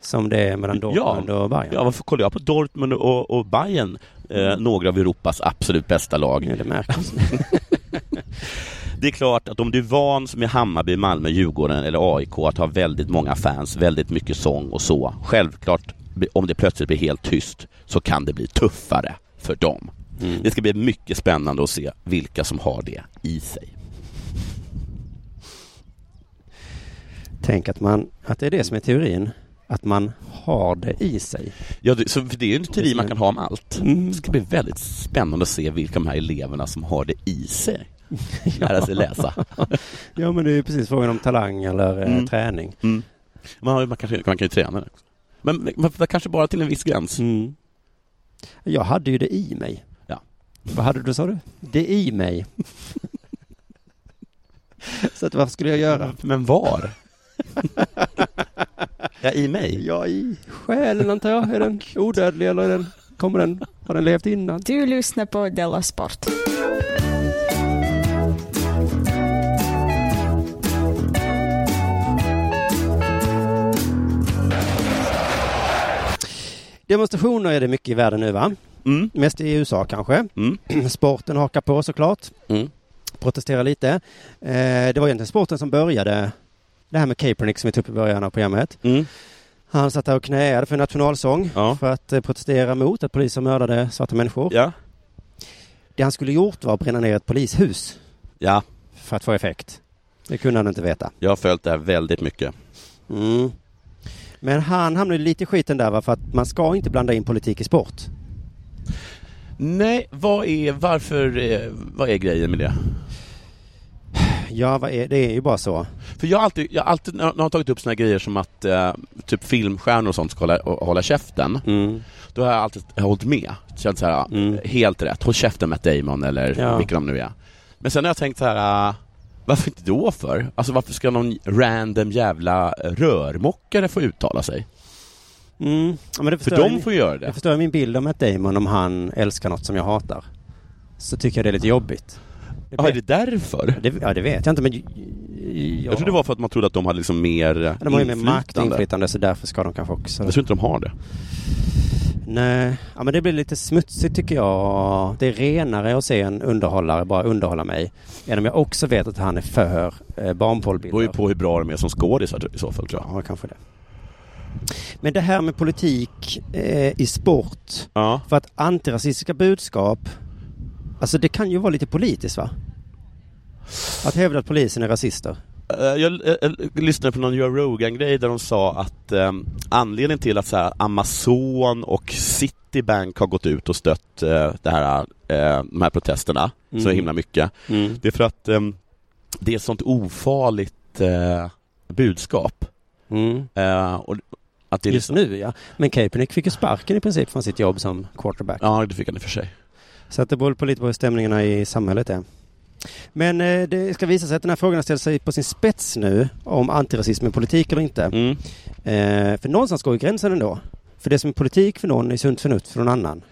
Speaker 3: som det är mellan Dortmund och Bayern.
Speaker 2: ja, varför kollar jag på Dortmund och, och Bayern, eh, några av Europas absolut bästa lag?
Speaker 3: det märks.
Speaker 2: Det är klart att om du är van som i Hammarby, Malmö, Djurgården eller AIK att ha väldigt många fans, väldigt mycket sång och så. Självklart, om det plötsligt blir helt tyst så kan det bli tuffare för dem. Det ska bli mycket spännande att se vilka som har det i sig.
Speaker 3: Tänk att, man, att det är det som är teorin. Att man har det i sig.
Speaker 2: Ja, det, så för det är ju en teori man kan ha om allt.
Speaker 3: Mm.
Speaker 2: Det ska bli väldigt spännande att se vilka de här eleverna som har det i sig. Lära sig läsa.
Speaker 3: ja, men det är ju precis frågan om talang eller eh,
Speaker 2: Mm.
Speaker 3: träning.
Speaker 2: Mm. Man, har ju- man, kanske, man kan ju träna det också. Men, men, men kanske bara till en viss gräns.
Speaker 3: Mm. Jag hade ju det i mig.
Speaker 2: Ja.
Speaker 3: Vad hade du, sa du? Det i mig. *laughs* Så att, varför skulle jag göra?
Speaker 2: Men var? ja, i mig?
Speaker 3: Ja, i själen antar jag. Är *laughs* den odödlig eller är den, kommer den, har den levt innan?
Speaker 9: Du lyssnar på Della Sport.
Speaker 3: Demonstrationer är det mycket i världen nu va?
Speaker 2: Mm.
Speaker 3: Mest i USA kanske. *clears throat* Sporten hakar på såklart.
Speaker 2: Mm.
Speaker 3: Protesterar lite. Eh, det var egentligen sporten som började det här med Kaepernick som vi tog upp i början av programmet.
Speaker 2: Mm.
Speaker 3: Han satt där och knäade för nationalsång
Speaker 2: Ja.
Speaker 3: för att eh, protestera mot att polisen mördade eh, svarta människor.
Speaker 2: Ja.
Speaker 3: Det han skulle gjort var att bränna ner ett polishus
Speaker 2: Ja,
Speaker 3: för att få effekt. Det kunde han inte veta.
Speaker 2: jag har följt det här väldigt mycket.
Speaker 3: Mm. Men han hamnade lite i skiten där va? för att man ska inte blanda in politik i sport.
Speaker 2: Nej, vad är, varför, eh, vad är grejen med det?
Speaker 3: Ja, vad är, det är ju bara så.
Speaker 2: För jag har alltid, jag har alltid när jag har tagit upp såna här grejer som att eh, typ filmstjärnor och sånt ska hålla, och, hålla käften.
Speaker 3: Mm.
Speaker 2: Då har jag alltid hållit med. Känt så här, helt rätt. Håll käften med Damon eller
Speaker 3: Ja.
Speaker 2: vilka de nu är. Men sen har jag tänkt så här, eh, varför inte då för? Alltså varför ska någon random jävla rörmokare få uttala sig?
Speaker 3: Mm. Ja, men det
Speaker 2: För
Speaker 3: förstör
Speaker 2: de
Speaker 3: ju-
Speaker 2: får göra
Speaker 3: Det
Speaker 2: det.
Speaker 3: förstör min bild om Matt Damon om han älskar något som jag hatar. så tycker jag det är lite jobbigt.
Speaker 2: Ja, är det därför?
Speaker 3: ja, det vet jag inte men... j- j-
Speaker 2: Jag tror det var för att man trodde att de hade liksom mer
Speaker 3: De har ju mer makt och inflytande så därför ska de kanske också...
Speaker 2: Jag tror inte de har det.
Speaker 3: Nej, ja, men det blir lite smutsigt tycker jag. Det är renare att se en underhållare bara underhålla mig. Än om jag också vet att han är för eh,
Speaker 2: Det
Speaker 3: barnporrbilder.
Speaker 2: beror ju på hur bra de är som skådisar i så fall tror jag.
Speaker 3: Ja, kanske det. Men det här med politik eh, i sport. För att antirasistiska budskap, alltså det kan ju vara lite politiskt va? Att hävda att polisen är rasister.
Speaker 2: Eh, Jag, jag, jag lyssnade på någon Joe Rogan-grej där de sa att eh, anledningen till att så här, Amazon och Citibank har gått ut och stött eh, det här, eh, de här protesterna så
Speaker 3: Mm.
Speaker 2: himla mycket,
Speaker 3: Mm.
Speaker 2: det är för att eh, det är ett sånt ofarligt eh, budskap.
Speaker 3: Mm.
Speaker 2: Eh, och att det är
Speaker 3: Just
Speaker 2: liksom-
Speaker 3: nu ja. Men Kaepernick fick ju sparken i princip från sitt jobb som quarterback.
Speaker 2: Ja, det fick han i och för sig.
Speaker 3: Så att det beror på lite på hur stämningarna i samhället är. Men eh, det ska visa sig att den här frågan har ställt sig på sin spets nu om antirasism är politik eller inte.
Speaker 2: Mm.
Speaker 3: Eh, för någonstans går ju gränsen ändå. För det som är politik för någon är sunt förnuft för någon annan.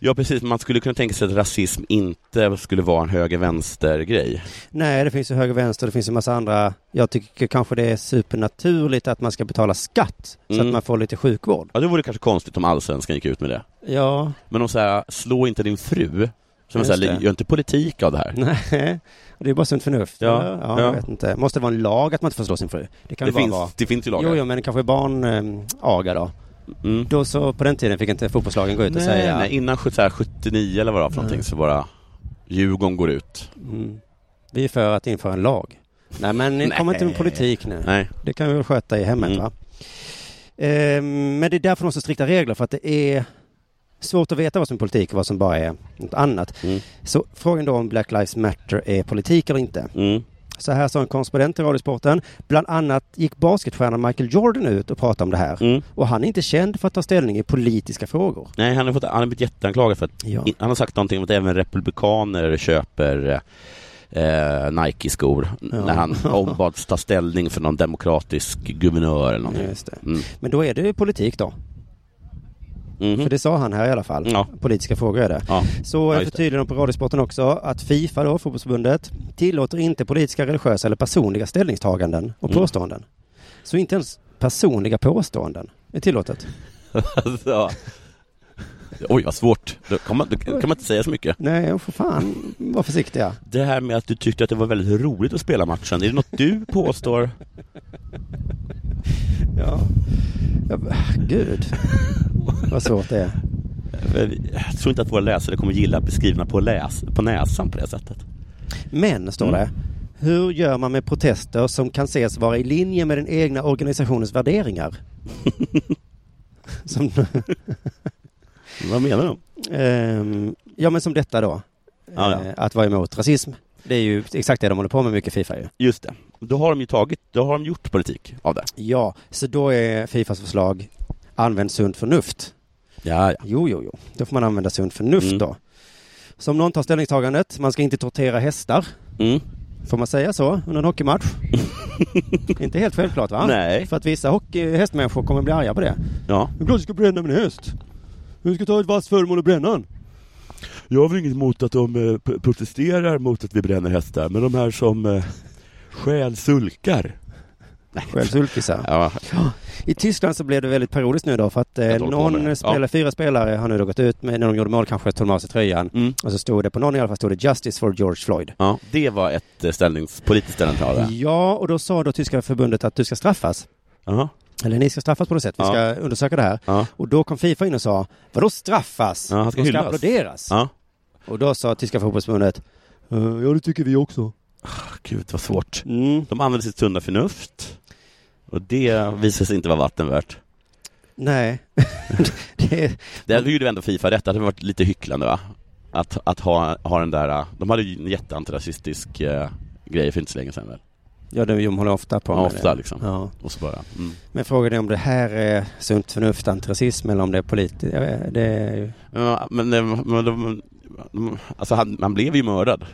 Speaker 2: Ja precis, man skulle kunna tänka sig att rasism inte skulle vara en höger-vänster-grej.
Speaker 3: Nej, det finns ju höger och vänster, det finns ju massa andra. Jag tycker kanske det är supernaturligt att man ska betala skatt så
Speaker 2: Mm.
Speaker 3: att man får lite sjukvård.
Speaker 2: Ja, det vore kanske konstigt om allsvenskan gick ut med det.
Speaker 3: Ja,
Speaker 2: Men de säger, slå inte din fru. Som
Speaker 3: Just
Speaker 2: säger,
Speaker 3: det.
Speaker 2: gör inte politik av det här.
Speaker 3: *laughs* nej. Det är bara sunt förnuft.
Speaker 2: Ja,
Speaker 3: eller? ja,
Speaker 2: ja.
Speaker 3: jag vet inte. Måste det vara en lag att man inte får slå sin fru? Det kan
Speaker 2: det,
Speaker 3: ju bara
Speaker 2: finns,
Speaker 3: vara.
Speaker 2: det finns ju lagar.
Speaker 3: Jo, jo, men kanske barnaga då. Då så, på den tiden fick inte fotbollslagen gå ut och
Speaker 2: nej,
Speaker 3: säga...
Speaker 2: nej, innan sjut- så här 79 eller vad det var för någonting så bara Djurgården går ut.
Speaker 3: Mm. Vi är för att införa en lag. Nej men ni
Speaker 2: Nej.
Speaker 3: kommer inte med politik nu.
Speaker 2: Nej.
Speaker 3: Det kan vi väl sköta i hemmet va? Ehm, men det är därför de har så strikta regler för att det är svårt att veta vad som är politik och vad som bara är något annat. Så frågan då om Black Lives Matter är politik eller inte. Så här sa en korrespondent i Radiosporten. Bland annat gick basketstjärnan Michael Jordan ut och pratade om det här. Och han är inte känd för att ta ställning i politiska frågor.
Speaker 2: Mm. Nej, han har, fått, han har blivit jätteanklagad för att
Speaker 3: Ja.
Speaker 2: i- han har sagt någonting om att även republikaner köper eh, Nike-skor n-
Speaker 3: Ja.
Speaker 2: när
Speaker 3: *laughs*
Speaker 2: han ombads ta ställning för någon demokratisk guvernör eller någonting.
Speaker 3: Just det.
Speaker 2: Mm.
Speaker 3: Men då är det ju politik då.
Speaker 2: Mhm. *laughs*
Speaker 3: För det sa han här i alla fall. Politiska frågor är det.
Speaker 2: Ja.
Speaker 3: Så
Speaker 2: Ja,
Speaker 3: jag
Speaker 2: just
Speaker 3: förtydligar på Radiosporten också att Fifa då, fotbollsförbundet, tillåter inte politiska, religiösa eller personliga ställningstaganden och
Speaker 2: Mm.
Speaker 3: påståenden. Så inte ens personliga påståenden är tillåtet.
Speaker 2: alltså. Oj, vad svårt. Då kan, man, då kan man inte säga så mycket.
Speaker 3: Nej, och för fan, var försiktiga.
Speaker 2: Det här med att du tyckte att det var väldigt roligt att spela matchen, är det något du påstår?
Speaker 3: Ja. Ja, Gud, vad svårt det är.
Speaker 2: Jag tror inte att våra läsare kommer gilla att bli skrivna på, läs, på näsan på det sättet.
Speaker 3: Men, står
Speaker 2: Mm.
Speaker 3: det, hur gör man med protester som kan ses vara i linje med den egna organisationens värderingar?
Speaker 2: *laughs*
Speaker 3: som,
Speaker 2: Vad menar du?
Speaker 3: Ehm, ja, men som detta då.
Speaker 2: Ja, ja.
Speaker 3: Eh, Att vara emot rasism. Det är ju exakt det de håller på med mycket i Fifa ju.
Speaker 2: Just det. Då har de ju tagit, då har de gjort politik av det.
Speaker 3: Ja, så då är Fifas förslag använd sunt förnuft. Mm.
Speaker 2: Ja, ja.
Speaker 3: Jo, jo, jo. Då får man använda sunt förnuft då. Så om någon tar ställningstagandet, man ska inte tortera hästar.
Speaker 2: Mm.
Speaker 3: Får man säga så under en *laughs* hockeymatch? inte helt självklart va?
Speaker 2: Nej.
Speaker 3: För att vissa hockey, hästmänniskor kommer bli arga på det.
Speaker 2: Ja.
Speaker 3: Det är klart du ska bränna min häst. Du ska ta ett vasst föremål och bränna den.
Speaker 2: Jag har inget emot att de eh, protesterar mot att vi bränner hästar, men de här som eh, skäl sulkar.
Speaker 3: Självsulkisar.
Speaker 2: Ja.
Speaker 3: I Tyskland så blev det väldigt parodiskt nu då för att eh,
Speaker 2: Jag håller på med det.
Speaker 3: någon spelare,
Speaker 2: Ja.
Speaker 3: fyra spelare har nu då gått ut med, när de gjorde mål kanske tog de av sig tröjan och så stod det på någon i alla fall stod det Justice for George Floyd.
Speaker 2: Mm. ja. Det var ett eh, ställnings, politiskt ställningstagande.
Speaker 3: Ja, och då sa då tyska förbundet att du ska straffas.
Speaker 2: Jaha.
Speaker 3: Eller ni ska straffas på något sätt, vi
Speaker 2: Ja.
Speaker 3: ska undersöka det här.
Speaker 2: Ja.
Speaker 3: Och då kom Fifa in och sa, vadå straffas?
Speaker 2: Ja, han ska
Speaker 3: de ska
Speaker 2: hyllas.
Speaker 3: applåderas.
Speaker 2: Ja.
Speaker 3: Och då sa tyska fotbollsförbundet, "Eh, ja det tycker vi också.
Speaker 2: Gud vad svårt.
Speaker 3: Mm.
Speaker 2: De använder sitt sunda förnuft. Och det visar sig inte vara vatten värt.
Speaker 3: Nej. *laughs* det är...
Speaker 2: Det här gjorde ju ändå Fifa rätt, det hade varit lite hycklande va? Att, att ha, ha den där, eh, de hade ju en jätteantirasistisk eh, grej för inte så länge sedan väl?
Speaker 3: Ja, det de håller ofta på
Speaker 2: Ja,
Speaker 3: med
Speaker 2: ofta
Speaker 3: det.
Speaker 2: liksom.
Speaker 3: Ja.
Speaker 2: Och så bara, mm.
Speaker 3: Men frågan är om det här är sunt förnuft, antirasism eller om det är politiskt. Det är ju...
Speaker 2: Ja, men, eh, men de, de, alltså han, han blev ju mördad.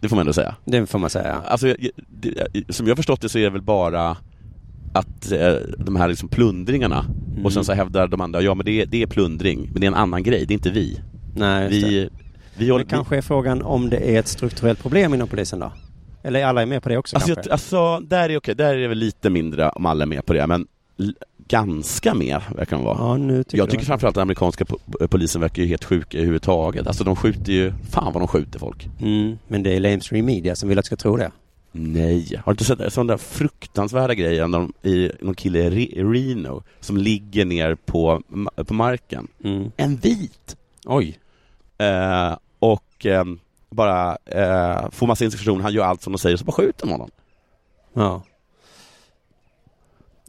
Speaker 2: Det får man ändå säga.
Speaker 3: Det får man säga.
Speaker 2: Alltså, jag- det, som jag har förstått det så är det väl bara att eh, de här liksom plundringarna och sen så hävdar de andra, ja men det är, det är plundring, men det är en annan grej, det är inte vi.
Speaker 3: Nej, just
Speaker 2: vi Vi håller,
Speaker 3: Det kanske är frågan om det är ett strukturellt problem inom polisen då? Eller är alla är med på det också
Speaker 2: Alltså, jag,
Speaker 3: kanske?
Speaker 2: alltså där är okej, där är det väl lite mindre om alla är med på det, men l- ganska med verkar de vara.
Speaker 3: Ja, nu tycker
Speaker 2: jag
Speaker 3: du
Speaker 2: tycker
Speaker 3: verkligen.
Speaker 2: framförallt att den amerikanska po- eh, polisen verkar ju helt sjuk överhuvudtaget. Alltså de skjuter ju, fan vad de skjuter folk.
Speaker 3: Mm, men det är lamestream media som vill att du ska tro det.
Speaker 2: Nej, har du inte sett den- sån där fruktansvärda grejen när de, i, någon kille i Re- Reno som ligger ner på, ma- på marken? En vit! Oj! Eh, och ehm, bara eh, får massa instruktioner, han gör allt som de säger, så bara skjuter de honom.
Speaker 3: Ja.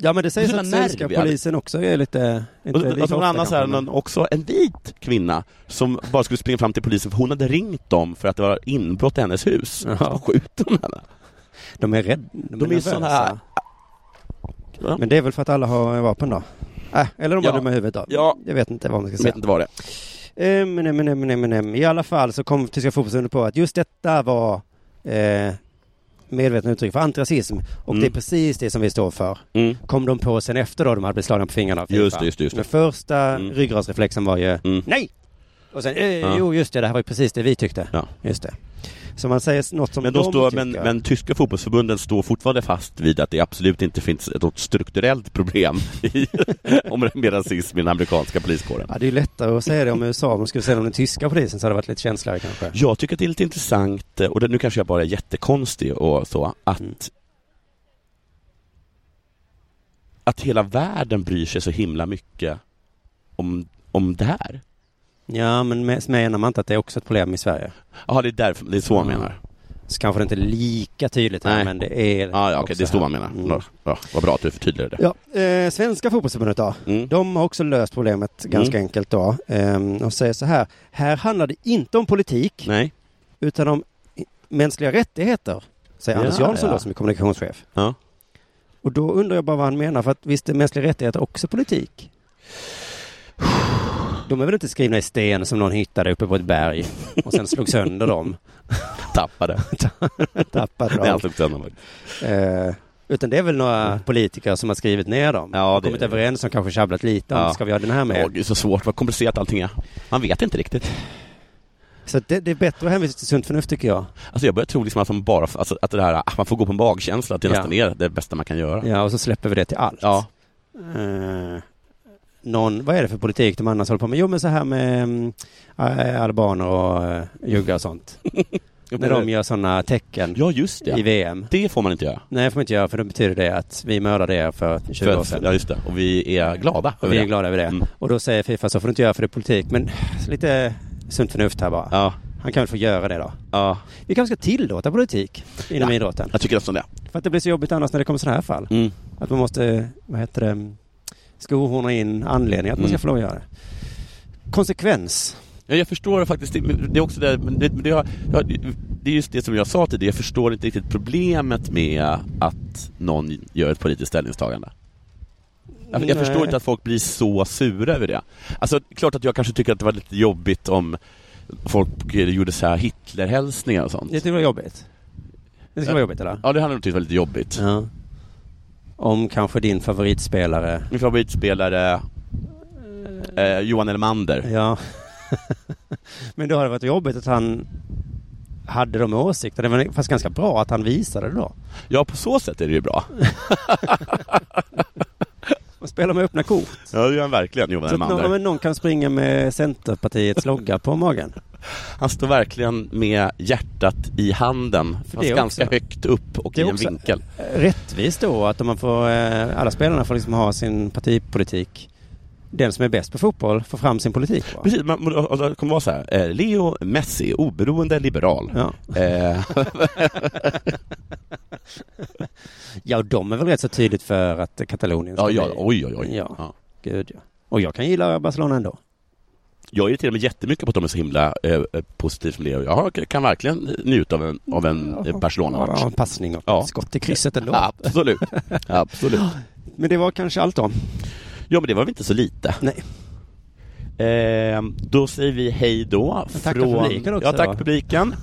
Speaker 3: Ja men det sägs
Speaker 2: Så
Speaker 3: att
Speaker 2: nervig,
Speaker 3: svenska
Speaker 2: Alex.
Speaker 3: polisen också är lite...
Speaker 2: Och,
Speaker 3: Inte,
Speaker 2: och,
Speaker 3: lite
Speaker 2: och så var
Speaker 3: ofta
Speaker 2: det en annan så här,
Speaker 3: kanske, men-
Speaker 2: någon, också en vit kvinna som bara skulle springa fram till polisen för hon hade ringt dem för att det var inbrott i hennes hus. Så bara skjuter de henne.
Speaker 3: De är rädda. De,
Speaker 2: är såna här-
Speaker 3: Men det är väl för att alla har vapen då? Äh, eller de har
Speaker 2: Ja.
Speaker 3: dumma i huvudet då?
Speaker 2: Ja.
Speaker 3: Jag vet inte vad man ska
Speaker 2: Jag
Speaker 3: säga.
Speaker 2: vet inte vad det är.
Speaker 3: Ehm, men, men, men, men, men, I alla fall så kom Tyska fotbollsförbundet på att just detta var eh, medvetna uttryck för antirasism. Och
Speaker 2: Mm.
Speaker 3: det är precis det som vi står för.
Speaker 2: Mm.
Speaker 3: Kom de på sen efter då de hade blivit slagna på fingrarna av Fifa.
Speaker 2: Just det, just det, just det. Mm.
Speaker 3: Men första ryggradsreflexen var ju nej! Och sen, eh,
Speaker 2: Ja.
Speaker 3: jo just det, det här var ju precis det vi tyckte.
Speaker 2: Ja.
Speaker 3: Just det. Så man säger något som
Speaker 2: Men, de står,
Speaker 3: tycker.
Speaker 2: men, men tyska fotbollsförbunden står fortfarande fast vid att det absolut inte finns något strukturellt problem i, *laughs* om- med rasism i den amerikanska poliskåren.
Speaker 3: Ja, det är ju lättare att säga det om USA. Om de skulle säga det om den tyska polisen så hade det varit lite känsligare kanske.
Speaker 2: Jag tycker att det är lite intressant, eh, och det, nu kanske jag bara är jättekonstig och så, att
Speaker 3: Mm.
Speaker 2: att hela världen bryr sig så himla mycket om, om det här.
Speaker 3: Ja, men med- menar man inte att det är också ett problem i Sverige?
Speaker 2: Jaha, det är därför, det är så man
Speaker 3: Mm.
Speaker 2: menar.
Speaker 3: Så kanske det inte är lika tydligt här, men det är...
Speaker 2: Ah, Ja, ja okej,
Speaker 3: också
Speaker 2: det är så
Speaker 3: här. Mm.
Speaker 2: man menar. Ja, Ja, vad bra att du förtydligade det.
Speaker 3: Ja, eh, Svenska fotbollsförbundet då. De har också löst problemet ganska
Speaker 2: Mm.
Speaker 3: enkelt då. Eh, de säger så här. Här handlar det inte om politik.
Speaker 2: Nej.
Speaker 3: Utan om i- mänskliga rättigheter. Säger
Speaker 2: Ja,
Speaker 3: Anders Jansson
Speaker 2: ja.
Speaker 3: då som är kommunikationschef.
Speaker 2: Ja.
Speaker 3: Och då undrar jag bara vad han menar. För att visst är mänskliga rättigheter också politik? De är väl inte skrivna i sten som någon hittade uppe på ett berg och sen slog
Speaker 2: *laughs*
Speaker 3: sönder dem? *laughs*
Speaker 2: Tappade.
Speaker 3: Tappade
Speaker 2: Nej,
Speaker 3: dem.
Speaker 2: jag slog sönder dem.
Speaker 3: Eh, utan det är väl några politiker som har skrivit ner dem.
Speaker 2: Mm. Ja,
Speaker 3: och
Speaker 2: det-
Speaker 3: kommit överens som kanske tjabblat lite om,
Speaker 2: Ja.
Speaker 3: ska vi ha den här med?
Speaker 2: Åh, gud, så svårt, vad komplicerat allting är. Man vet inte riktigt.
Speaker 3: Så det, det är bättre att hänvisa till sunt förnuft tycker jag.
Speaker 2: Alltså jag börjar tro liksom att, man bara, alltså att det här, att man får gå på en magkänsla, att det
Speaker 3: Ja.
Speaker 2: nästan är det bästa man kan göra.
Speaker 3: Ja, och så släpper vi det till allt.
Speaker 2: Ja.
Speaker 3: Eh, någon, vad är det för politik de annars håller på med? Jo, men så här med mm, eh, albaner och eh, juggar och sånt. När de gör sådana tecken
Speaker 2: Ja, just det.
Speaker 3: i VM.
Speaker 2: Det får man inte göra.
Speaker 3: Nej, det får man inte göra för då betyder det att vi mördade er för 20 år
Speaker 2: För,
Speaker 3: sedan.
Speaker 2: ja, just det. Och vi är glada
Speaker 3: Och
Speaker 2: över
Speaker 3: vi är
Speaker 2: det.
Speaker 3: glada över det. Och då säger Fifa så får du inte göra för det är politik. Men lite sunt förnuft här bara. Han kan väl få göra det då.
Speaker 2: Ja.
Speaker 3: Vi kanske ska tillåta politik inom
Speaker 2: Ja.
Speaker 3: idrotten.
Speaker 2: Jag tycker nästan det.
Speaker 3: För att det blir så jobbigt annars när det kommer sådana här fall.
Speaker 2: Mm.
Speaker 3: Att man måste, vad heter det, skohorna in anledningen att man ska
Speaker 2: Mm.
Speaker 3: få lov att göra det. Konsekvens.
Speaker 2: Ja, jag förstår faktiskt, det, men det är också det, men det, men det, har, ja, det är just det som jag sa tidigare, jag förstår inte riktigt problemet med att någon gör ett politiskt ställningstagande. Jag, jag
Speaker 3: Nej.
Speaker 2: förstår inte att folk blir så sura över det. Alltså, det är klart att jag kanske tycker att det var lite jobbigt om folk eh, gjorde så här Hitlerhälsningar och sånt.
Speaker 3: Det tycker jag är jobbigt. Det ska vara jobbigt eller?
Speaker 2: Ja, det hade nog tyckt var lite jobbigt.
Speaker 3: Ja. Om kanske din favoritspelare.
Speaker 2: Min favoritspelare, eh, Johan Elmander.
Speaker 3: Ja. *laughs* Men då har det varit jobbigt att han hade de åsikterna. Det var fast ganska bra att han visade det då.
Speaker 2: Ja, på så sätt är det ju bra.
Speaker 3: Man spelar med öppna kort.
Speaker 2: Ja, det gör han verkligen, Johan
Speaker 3: Så att någon,
Speaker 2: Elmander.
Speaker 3: men någon kan springa med Centerpartiets logga på magen.
Speaker 2: Han står verkligen med hjärtat i handen, fast
Speaker 3: det
Speaker 2: ganska
Speaker 3: också.
Speaker 2: högt upp och
Speaker 3: Det
Speaker 2: i
Speaker 3: är
Speaker 2: en
Speaker 3: också-
Speaker 2: vinkel.
Speaker 3: *laughs* Rättvist då att om man får, eh, alla spelarna får liksom ha sin partipolitik. Den som är bäst på fotboll får fram sin politik. Va?
Speaker 2: Precis, man, man- alltså, det kommer vara så här. Eh, Leo Messi, oberoende liberal.
Speaker 3: Ja.
Speaker 2: Eh,
Speaker 3: ja, och de är väl rätt så tydligt för att Katalonien
Speaker 2: ja, ja,
Speaker 3: bli-
Speaker 2: oj, oj, oj.
Speaker 3: Ja,
Speaker 2: Ja.
Speaker 3: gud ja. Och jag kan gilla Barcelona ändå.
Speaker 2: Jag irriterar mig jättemycket på att de är så himla eh, positiva med det och jag kan verkligen njuta av en, av en eh, Barcelona-match.
Speaker 3: Ja, en passning och
Speaker 2: Ja.
Speaker 3: skott i krysset ändå.
Speaker 2: Absolut. *laughs* Absolut.
Speaker 3: Men det var kanske allt då.
Speaker 2: Ja, men det var väl inte så lite.
Speaker 3: Nej.
Speaker 2: Eh, då säger vi hej då.
Speaker 3: tackar publiken också
Speaker 2: Ja, tack
Speaker 3: då.
Speaker 2: *laughs* publiken.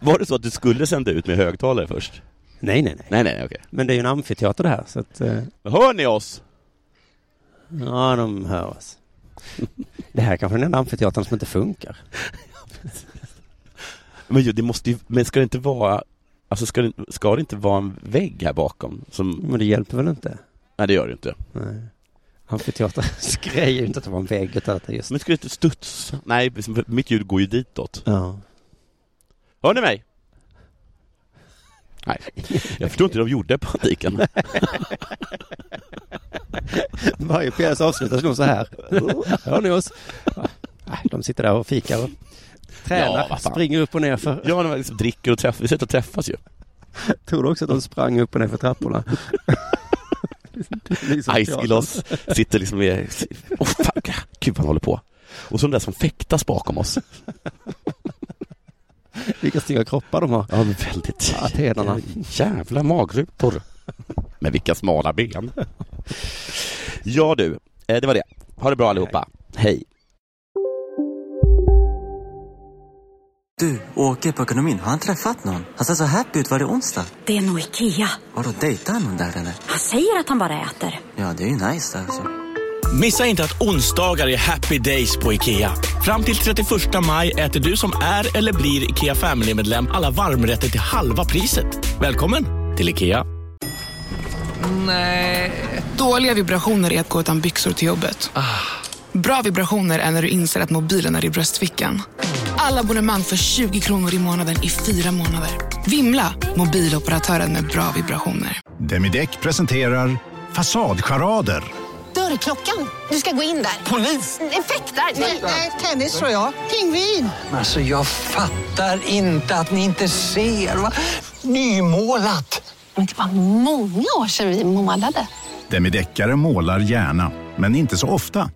Speaker 2: Var det så att du skulle sända ut med högtalare först?
Speaker 3: Nej, nej, nej.
Speaker 2: Nej, nej, okej.
Speaker 3: Men det är ju en amfiteater det här så att... Eh,
Speaker 2: Hör ni oss?
Speaker 3: ja, de hör oss. Det här är kanske den enda amfiteatern som inte funkar.
Speaker 2: Men ju, det måste ju, men ska det inte vara, alltså ska det, ska det inte vara en vägg här bakom? Som...
Speaker 3: Men det hjälper väl inte?
Speaker 2: Nej, det gör det inte.
Speaker 3: Nej. Amfiteaterns *laughs* grej är ju inte att det var en vägg utan att det just...
Speaker 2: Men ska det inte studsa? Nej, mitt ljud går ju ditåt.
Speaker 3: Ja.
Speaker 2: Hör ni mig? Nej, jag förstår inte hur de gjorde *laughs* paniken.
Speaker 3: Varje pjäs avslutas nog så här. Hör ni oss? Nej, De sitter där och fikar och tränar,
Speaker 2: Ja, vad fan.
Speaker 3: springer upp och ner för...
Speaker 2: Ja, de liksom dricker och träffas, vi sitter och träffas ju.
Speaker 3: Tror du också att de sprang upp och ner för trapporna? *laughs* Liksom
Speaker 2: Icegilos sitter liksom med... Åh, fan, gud vad han håller på. Och så de där som fäktas bakom oss.
Speaker 3: Vilka snygga kroppar de har.
Speaker 2: Ja, men väldigt.
Speaker 3: Atenarna.
Speaker 2: Jävla magrutor. Men vilka smala ben. Ja du, eh, det var det. Ha det bra allihopa. Hej.
Speaker 10: Du, åker på ekonomin, har han träffat någon? Han ser så happy ut. Var det onsdag?
Speaker 11: Det är nog Ikea.
Speaker 10: Har du dejtat någon där eller?
Speaker 11: Han säger att han bara äter.
Speaker 10: Ja, det är ju nice alltså.
Speaker 12: Missa inte att onsdagar är happy days på IKEA. Fram till 31 maj äter du som är eller blir IKEA Family-medlem alla varmrätter till halva priset. Välkommen till IKEA.
Speaker 6: Nej. Dåliga vibrationer är att gå utan byxor till jobbet. Bra vibrationer är när du inser att mobilen är i bröstfickan. Alla abonnemang för 20 kronor i månaden i fyra månader. Vimla! Mobiloperatören med bra vibrationer.
Speaker 13: Demideck presenterar Fasadcharader.
Speaker 14: Dörrklockan. Du ska gå in där. Polis? Effektar? Nej, tennis tror jag. Pingvin.
Speaker 10: Alltså jag fattar inte att ni inte ser. Va? Nymålat.
Speaker 14: Men det var många år sedan vi målade.
Speaker 13: Demideckare målar gärna, men inte så ofta.